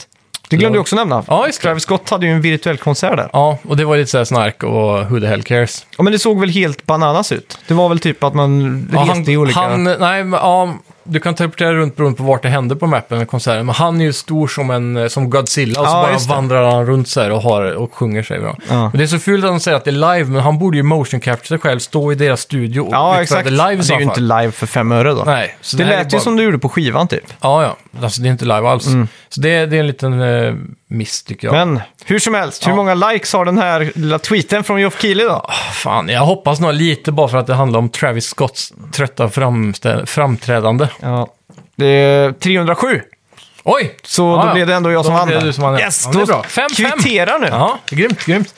A: Det glömde jag också nämna.
B: Ja, just det.
A: Travis Scott hade ju en virtuell konsert där.
B: Ja, och det var lite såhär snark och who the hell cares.
A: Ja, men det såg väl helt bananas ut. Det var väl typ att man
B: Ja,
A: reste i olika...
B: han, nej, men, ja, du kan teleportera runt beroende på vart det händer på mappen i konserten. Men han är ju stor som, en, eh, som Godzilla och så
A: Ja,
B: bara
A: just det.
B: vandrar han runt så här och, har, och sjunger sig. Ja.
A: Ja.
B: Men det är så fult att han säger att det är live, men han borde ju motion capture sig själv, stå i deras studio och
A: ja,
B: mixa
A: exakt.
B: det live i
A: det
B: så
A: är ju
B: fall.
A: inte live för fem öre då.
B: Nej, så
A: det
B: det här är
A: lät ju
B: bara-
A: som du gjorde på skivan typ.
B: Ja, ja. Alltså det är inte live alls. Så det, det är en liten eh, miss tycker jag.
A: Men hur som helst, hur
B: Ja.
A: många likes har den här lilla tweeten från Geoff Keighley då?
B: Fan, jag hoppas nog lite bara för att det handlar om Travis Scotts trötta framstä- framträdande.
A: Ja. Det är 307.
B: Oj!
A: Så då blev det ändå jag
B: Då
A: som vann.
B: blev det
A: där.
B: du som vann. ja.
A: Yes,
B: ja, det är
A: då
B: bra. Mm. 5
A: kvitterar nu.
B: Ja, grymt, grymt.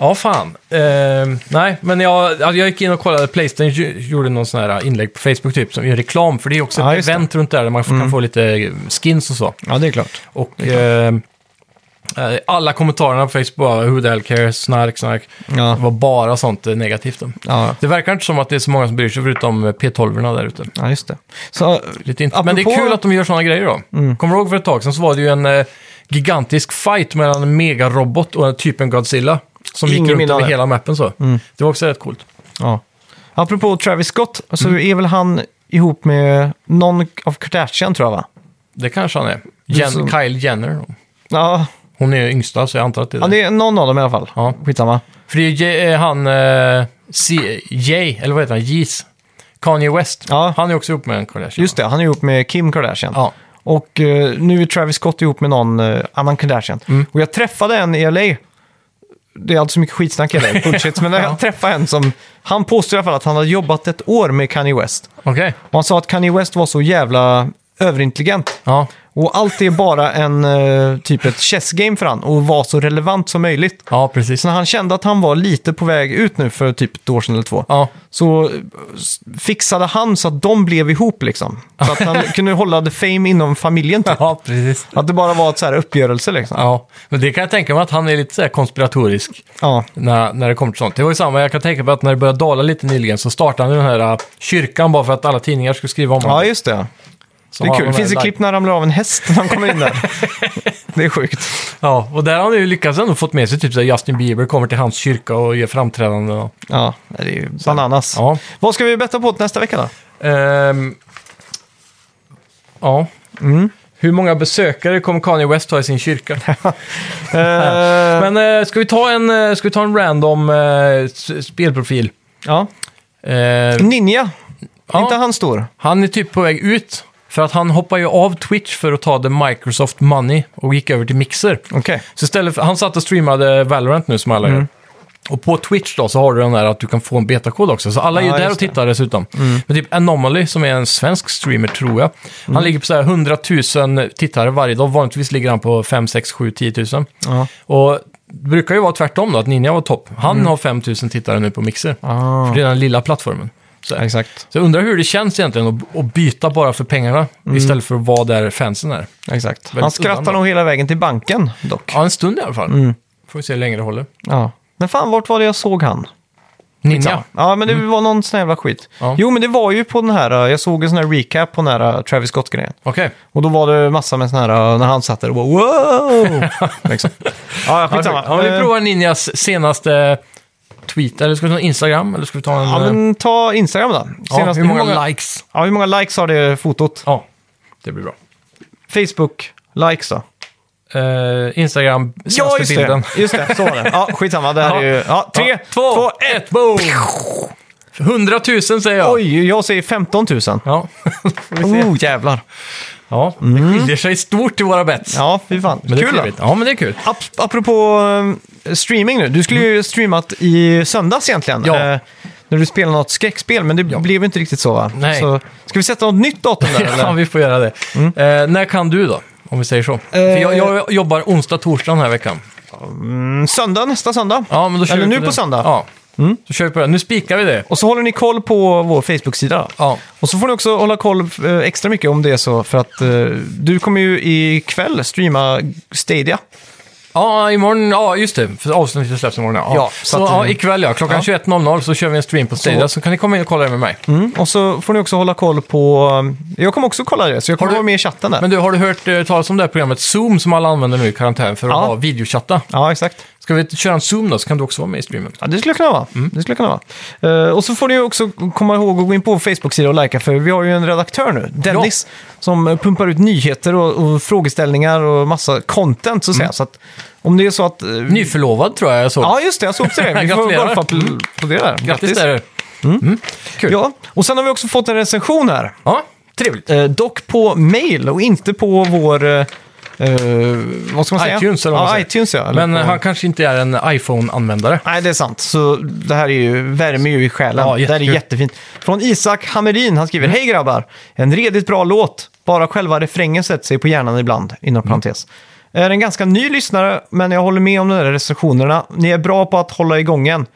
B: Ja, fan. Ehm, nej, men jag, alltså, jag gick in och kollade. Playstation ju- gjorde någon sån här inlägg på Facebook typ, som är reklam. För det är också
A: Ja,
B: ett
A: just det.
B: event runt där, där man f- kan få lite skins och så.
A: Ja, det är klart.
B: Och ehm, eh, alla kommentarerna på Facebook bara “Who the hell cares?” “Snark, snark”.
A: Ja.
B: Det var bara sånt eh, negativt. då.
A: Ja,
B: Det verkar inte som att det är så många som bryr sig förutom eh, P12-orna där ute.
A: ja just det. Så,
B: Lite int- Men det är
A: Apropå- Mm.
B: kul att de gör sådana grejer då. Kommer du ihåg för ett tag sedan så var det ju en eh, gigantisk fight mellan en megarobot och en typen Godzilla. Som
A: Ingen
B: gick runt
A: minne av
B: över
A: det. Mm.
B: hela mappen så. Det var också rätt coolt.
A: ja. Apropå Travis Scott, så
B: Mm.
A: är väl han ihop med någon av Kardashian tror jag va?
B: Det kanske han är. Jen,
A: som-
B: Kyle Jenner.
A: Ja,
B: Hon är yngsta, så jag antar att det är
A: ja,
B: det.
A: det är någon av dem i alla fall.
B: Ja.
A: Skitsamma.
B: För det är ju eh, han... Eh, C- Jay, eller vad heter han? Jeez. Kanye West.
A: Ja.
B: Han är också ihop med en Kardashian.
A: Just det, han är ihop med Kim Kardashian.
B: Ja.
A: Och eh, nu är Travis Scott ihop med någon eh, annan Kardashian. Och jag träffade en i LA. Det är alltid så mycket skitsnack i LA, bullshit. Men jag träffade en som, han påstår i alla fall att han hade jobbat ett år med Kanye West.
B: Okej.
A: Och han sa att Kanye West var så jävla överintelligent.
B: Ja.
A: Och allt är bara en, eh, typ ett chessgame för han och vara så relevant som möjligt.
B: ja, precis.
A: Så när han kände att han var lite på väg ut nu för typ ett år sedan eller två,
B: Ja.
A: så eh, s- fixade han så att de blev ihop liksom. Så att han kunde hålla the fame inom familjen typ.
B: ja, precis.
A: Att det bara var ett så här uppgörelse liksom.
B: Ja, men det kan jag tänka mig att han är lite så här konspiratorisk.
A: Ja,
B: när, när det kommer till sånt. Det var ju samma, jag kan tänka mig att när det började dala lite nyligen så startade han den här äh, kyrkan bara för att alla tidningar skulle skriva om
A: ja
B: honom.
A: just det.
B: Så
A: Det är
B: har
A: kul.
B: de
A: Det
B: här
A: finns ett
B: lag-
A: klipp när han ramlar av en häst när han kommer in där. det är sjukt.
B: Ja, och där har han ju lyckats ändå fått med sig typ så här Justin Bieber kommer till hans kyrka och gör framträdanden. Och,
A: Ja, det är ju bananas.
B: ja.
A: Vad ska vi betta på till nästa vecka då?
B: Ehm, ja.
A: mm.
B: Hur många besökare kommer Kanye West ha i sin kyrka?
A: Eh,
B: Men eh, ska, vi ta en, eh, ska vi ta en random eh, s- spelprofil?
A: ja.
B: Eh,
A: Ninja,
B: ja.
A: Mm, inte han stor?
B: Han är typ på väg ut. För att han hoppar ju av Twitch för att ta the Microsoft Money och gick över till Mixer.
A: Okej.
B: Så istället för, han satt och streamade Valorant nu som alla
A: Mm.
B: gör. Och på Twitch då så har du den där att du kan få en betakod också. Så alla är ju
A: Ja,
B: där
A: just Mm.
B: och tittar dessutom. Men typ Anomaly som är en svensk streamer tror jag.
A: Mm.
B: Han ligger på så här 100 000 tittare varje dag. Vanligtvis ligger han på 5, 6, 7, 10 000.
A: Ja.
B: Och det brukar ju vara tvärtom då, att Ninja var topp. Han har 5 000 tittare nu på Mixer.
A: Mm. Ah,
B: För det är den lilla plattformen. Så här.
A: Exakt,
B: Så jag undrar hur det känns egentligen att, att byta bara för pengarna
A: Mm.
B: istället för att vara där fansen är.
A: exakt. Han
B: Väldigt
A: skrattar
B: udda.
A: nog hela vägen till banken dock.
B: Ja, en stund i alla fall.
A: Mm.
B: Får vi se hur länge det håller.
A: Ja. Men fan, vart var det jag såg han?
B: Ninja. Mm.
A: Ja, men det var någon sån jävla skit.
B: Ja.
A: Jo, men det var ju på den här, eh, jag såg en sån här recap på den här eh, Travis Scott-grejen.
B: Okej.
A: Och då var det massa med sån här, eh, när han satt där och bara wow! liksom. Ja, ja, skitsamma.
B: Ja, vi
A: Eh,
B: provar Ninjas senaste tweet. Eller ska vi ta en Instagram? Eller ska vi ta en...
A: Ja, men ta Instagram då.
B: ja,
A: Senast,
B: hur många likes?
A: ja, hur många likes har det fotot?
B: Ja, det blir bra.
A: Facebook, likes då?
B: Eh, Instagram, senaste
A: just
B: bilden.
A: det. Just det, så var det. Ja, skitsamma. Det här är ju... Ja, tre,
B: Ja, två,
A: två,
B: ett, boom! 100 000 säger jag.
A: Oj, jag säger 15 000.
B: Ja,
A: Oh, jävlar.
B: ja det skiljer sig stort i våra bets.
A: Mm. Ja, fy fan.
B: men det är
A: Kul då.
B: trevligt. Ja, men det är kul.
A: Ap apropå eh, streaming nu, du skulle ju streamat i söndags egentligen.
B: Ja.
A: eh, när du spelade något skräckspel, men det blev inte riktigt så va?
B: Nej.
A: Så, ska vi sätta något nytt datum där
B: Ja,
A: eller? Mm.
B: vi får göra det. Eh, när kan du då? Om vi säger så. För jag,
A: Eh.
B: jag jobbar onsdag, torsdag den här veckan.
A: Mm, Söndag, nästa söndag.
B: Ja, men då kör
A: eller
B: vi
A: nu
B: det.
A: på söndag. Mm.
B: Ja, då kör vi på det. Nu spikar vi det.
A: Och så håller ni koll på vår Facebook-sida. då.
B: Ja,
A: Och så får ni också hålla koll eh, extra mycket om det är så, för att eh, du kommer ju ikväll streama Stadia.
B: ja imorgon, ja just det. För avsnittet släpps imorgon. Ja,
A: Ja,
B: så
A: så att- eh,
B: ja, ikväll ja. Klockan 21.00 så kör vi en stream på Stadia. Så. kan ni komma in och kolla det med mig.
A: Mm. Och så får ni också hålla koll på... eh, Jag kommer också kolla det, så jag kommer
B: du-
A: vara med i chatten där.
B: Men du, har du hört eh, talas om det här programmet Zoom som alla använder nu i karantän för att
A: Ja.
B: ha videochatta?
A: Ja, exakt.
B: Ska vi köra en Zoom då så kan du också vara med i streamen.
A: Ja, det skulle kunna vara.
B: Mm.
A: Det skulle kunna vara. Eh, och så får ni också komma ihåg att gå in på vår Facebook-sida och likea, för vi har ju en redaktör nu, Dennis, som eh, pumpar ut nyheter och, och frågeställningar och massa content, så att
B: Mm.
A: säga. Så att om det är så att... eh,
B: Nyförlovad tror jag jag såg.
A: Ja, just det, jag såg också det. Vi får
B: Gratulerar. Mm.
A: golfa på, på det där.
B: Grattis där. Kul.
A: Ja, och sen har vi också fått en recension här.
B: Ja, trevligt.
A: Eh, dock på mail och inte på vår... eh, eh, vad ska man säga?
B: iTunes, eller vad man
A: ja,
B: säger.
A: iTunes, ja. Eller
B: Men eh,
A: på-
B: han kanske inte är en iPhone-användare.
A: Nej, det är sant. Så det här är ju, värmer ju i själen.
B: Ja,
A: det här är
B: jättekul.
A: jättefint. Från Isak Hammerin, han skriver Hej grabbar! En redigt bra låt. Bara själva refrängen sätter sig på hjärnan ibland, inom
B: Mm.
A: parentes. Är en ganska ny lyssnare, men jag håller med om de där recensionerna. Ni är bra på att hålla igången.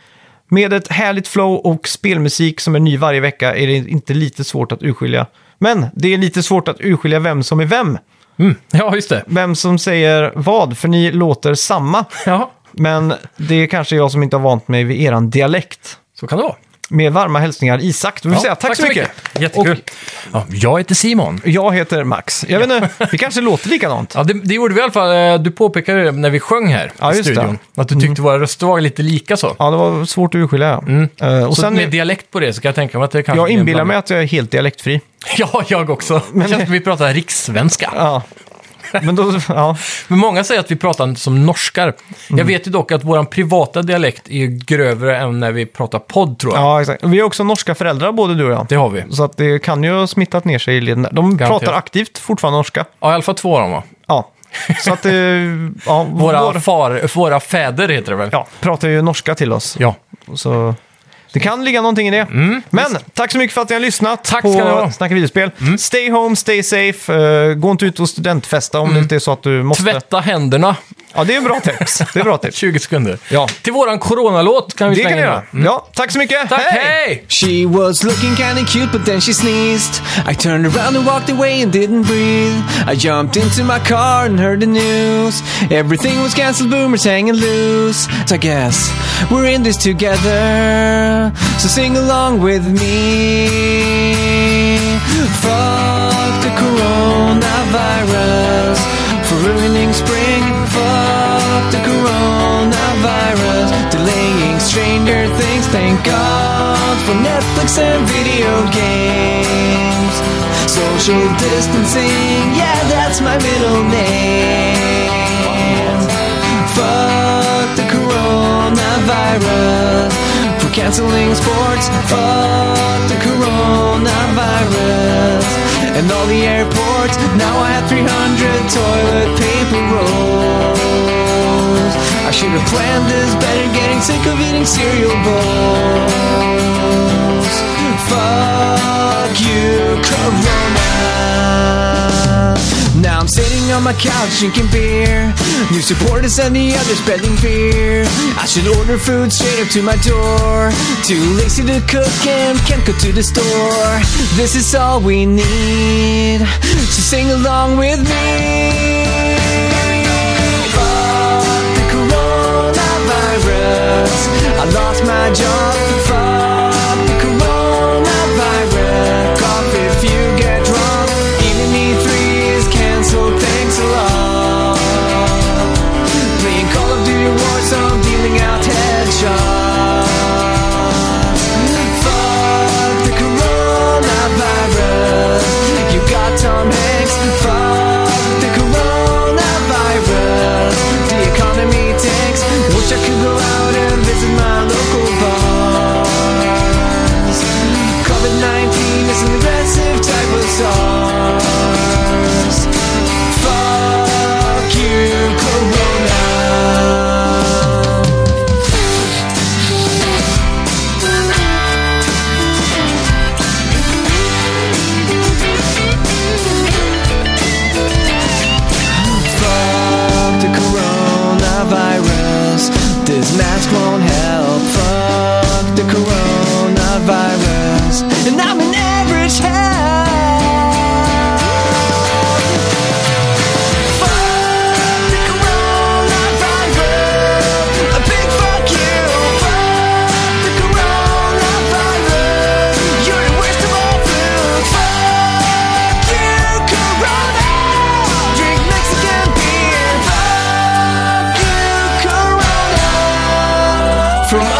A: Med ett härligt flow och spelmusik som är ny varje vecka är det inte lite svårt att urskilja. Men det är lite svårt att urskilja vem som är vem.
B: Mm. Ja, just det.
A: Vem som säger vad, för ni låter samma.
B: Ja,
A: Men det är kanske jag som inte har vant mig vid eran dialekt.
B: så kan det vara.
A: Med varma hälsningar Isak. Då vill
B: Ja,
A: säga tack, så mycket.
B: Jättekul.
A: Och
B: Ja, jag heter Simon.
A: jag heter Max. Jag vet inte, vi kanske låter likadant.
B: Ja, det, det gjorde vi i alla fall. Eh, Du påpekade det när vi sjöng här
A: Ja,
B: i
A: just det. Mm.
B: studion. Att du tyckte våra röster var lite lika så.
A: Ja, det var svårt att urskilja. ja. Eh, och
B: Mm. så
A: sen,
B: med dialekt på det så kan jag tänka mig att det kanske...
A: jag
B: blir en
A: inbillar mig
B: blandning.
A: att jag är helt dialektfri.
B: Ja, jag också. Men... Det känns som vi pratar rikssvenska.
A: Ja. Men då, ja.
B: Men många säger att vi pratar som norskar.
A: Mm.
B: Jag vet ju dock att vår privata dialekt är ju grövre än när vi pratar podd, tror jag.
A: ja, exakt. Vi har också norska föräldrar, både du och jag.
B: Det har vi.
A: Så att det kan ju ha smittat ner sig i leden där. De pratar aktivt fortfarande norska.
B: Ja, i alla fall två av dem, va?
A: Ja. Så att eh, ja,
B: Våra,
A: vår-
B: far, våra fäder heter det väl?
A: ja, pratar ju norska till oss.
B: Ja.
A: Så det kan ligga någonting i det. Men tack så mycket för att ni har lyssnat
B: Mm, Tack ska ni
A: på
B: ha. Mm.
A: Snacka videospel. Stay home, stay safe. eh, gå inte ut och studentfesta
B: Mm.
A: om det inte är så att du måste.
B: Tvätta händerna,
A: Ja, det är en bra tips. Det är en bra tips.
B: 20 sekunder.
A: Ja.
B: Till våran coronalåt kan vi
A: Det
B: slänga
A: kan ni
B: in
A: göra.
B: den.
A: Ja, tack så mycket.
B: Mm. Tack, hej!
D: She was looking kinda cute, but then she sneezed. I turned around and walked away and didn't breathe. I jumped into my car and heard the news. Everything was cancelled, boomers hanging loose. So I guess we're in this together. So sing along with me. Fuck the coronavirus for ruining spring. Fuck the coronavirus, delaying Stranger Things. Thank God for Netflix and video games. Social distancing, yeah, that's my middle name. Fuck the coronavirus for canceling sports. Fuck the coronavirus and all the airports. Now I have 300 toilet paper rolls. I should have planned this better. Getting sick of eating cereal bowls. Fuck you, Corona. Now I'm sitting on my couch drinking beer. News reporters and the others spreading fear. I should order food straight up to my door. Too lazy to cook and can't go to the store. This is all we need. So sing along with me. Fuck the coronavirus. I lost my job. Fuck the coronavirus. Cough if you get drunk. Eating me three is cancelled. Thanks a lot. Playing Call of Duty Warzone, dealing out headshots. Fuck the coronavirus. You got Tom Hanks. Fuck the coronavirus. The economy tanks. Wish I could go out and visit my local bars. COVID 19 is an aggressive type of SARS. Fuck you, Corona. Fuck the coronavirus. This mask won't help. Fuck the coronavirus. And I'm an average head. Fuck the coronavirus. A big fuck you. Fuck the coronavirus. You're the worst of all foods. Fuck you, Corona. Drink Mexican beer. Fuck you, Corona. From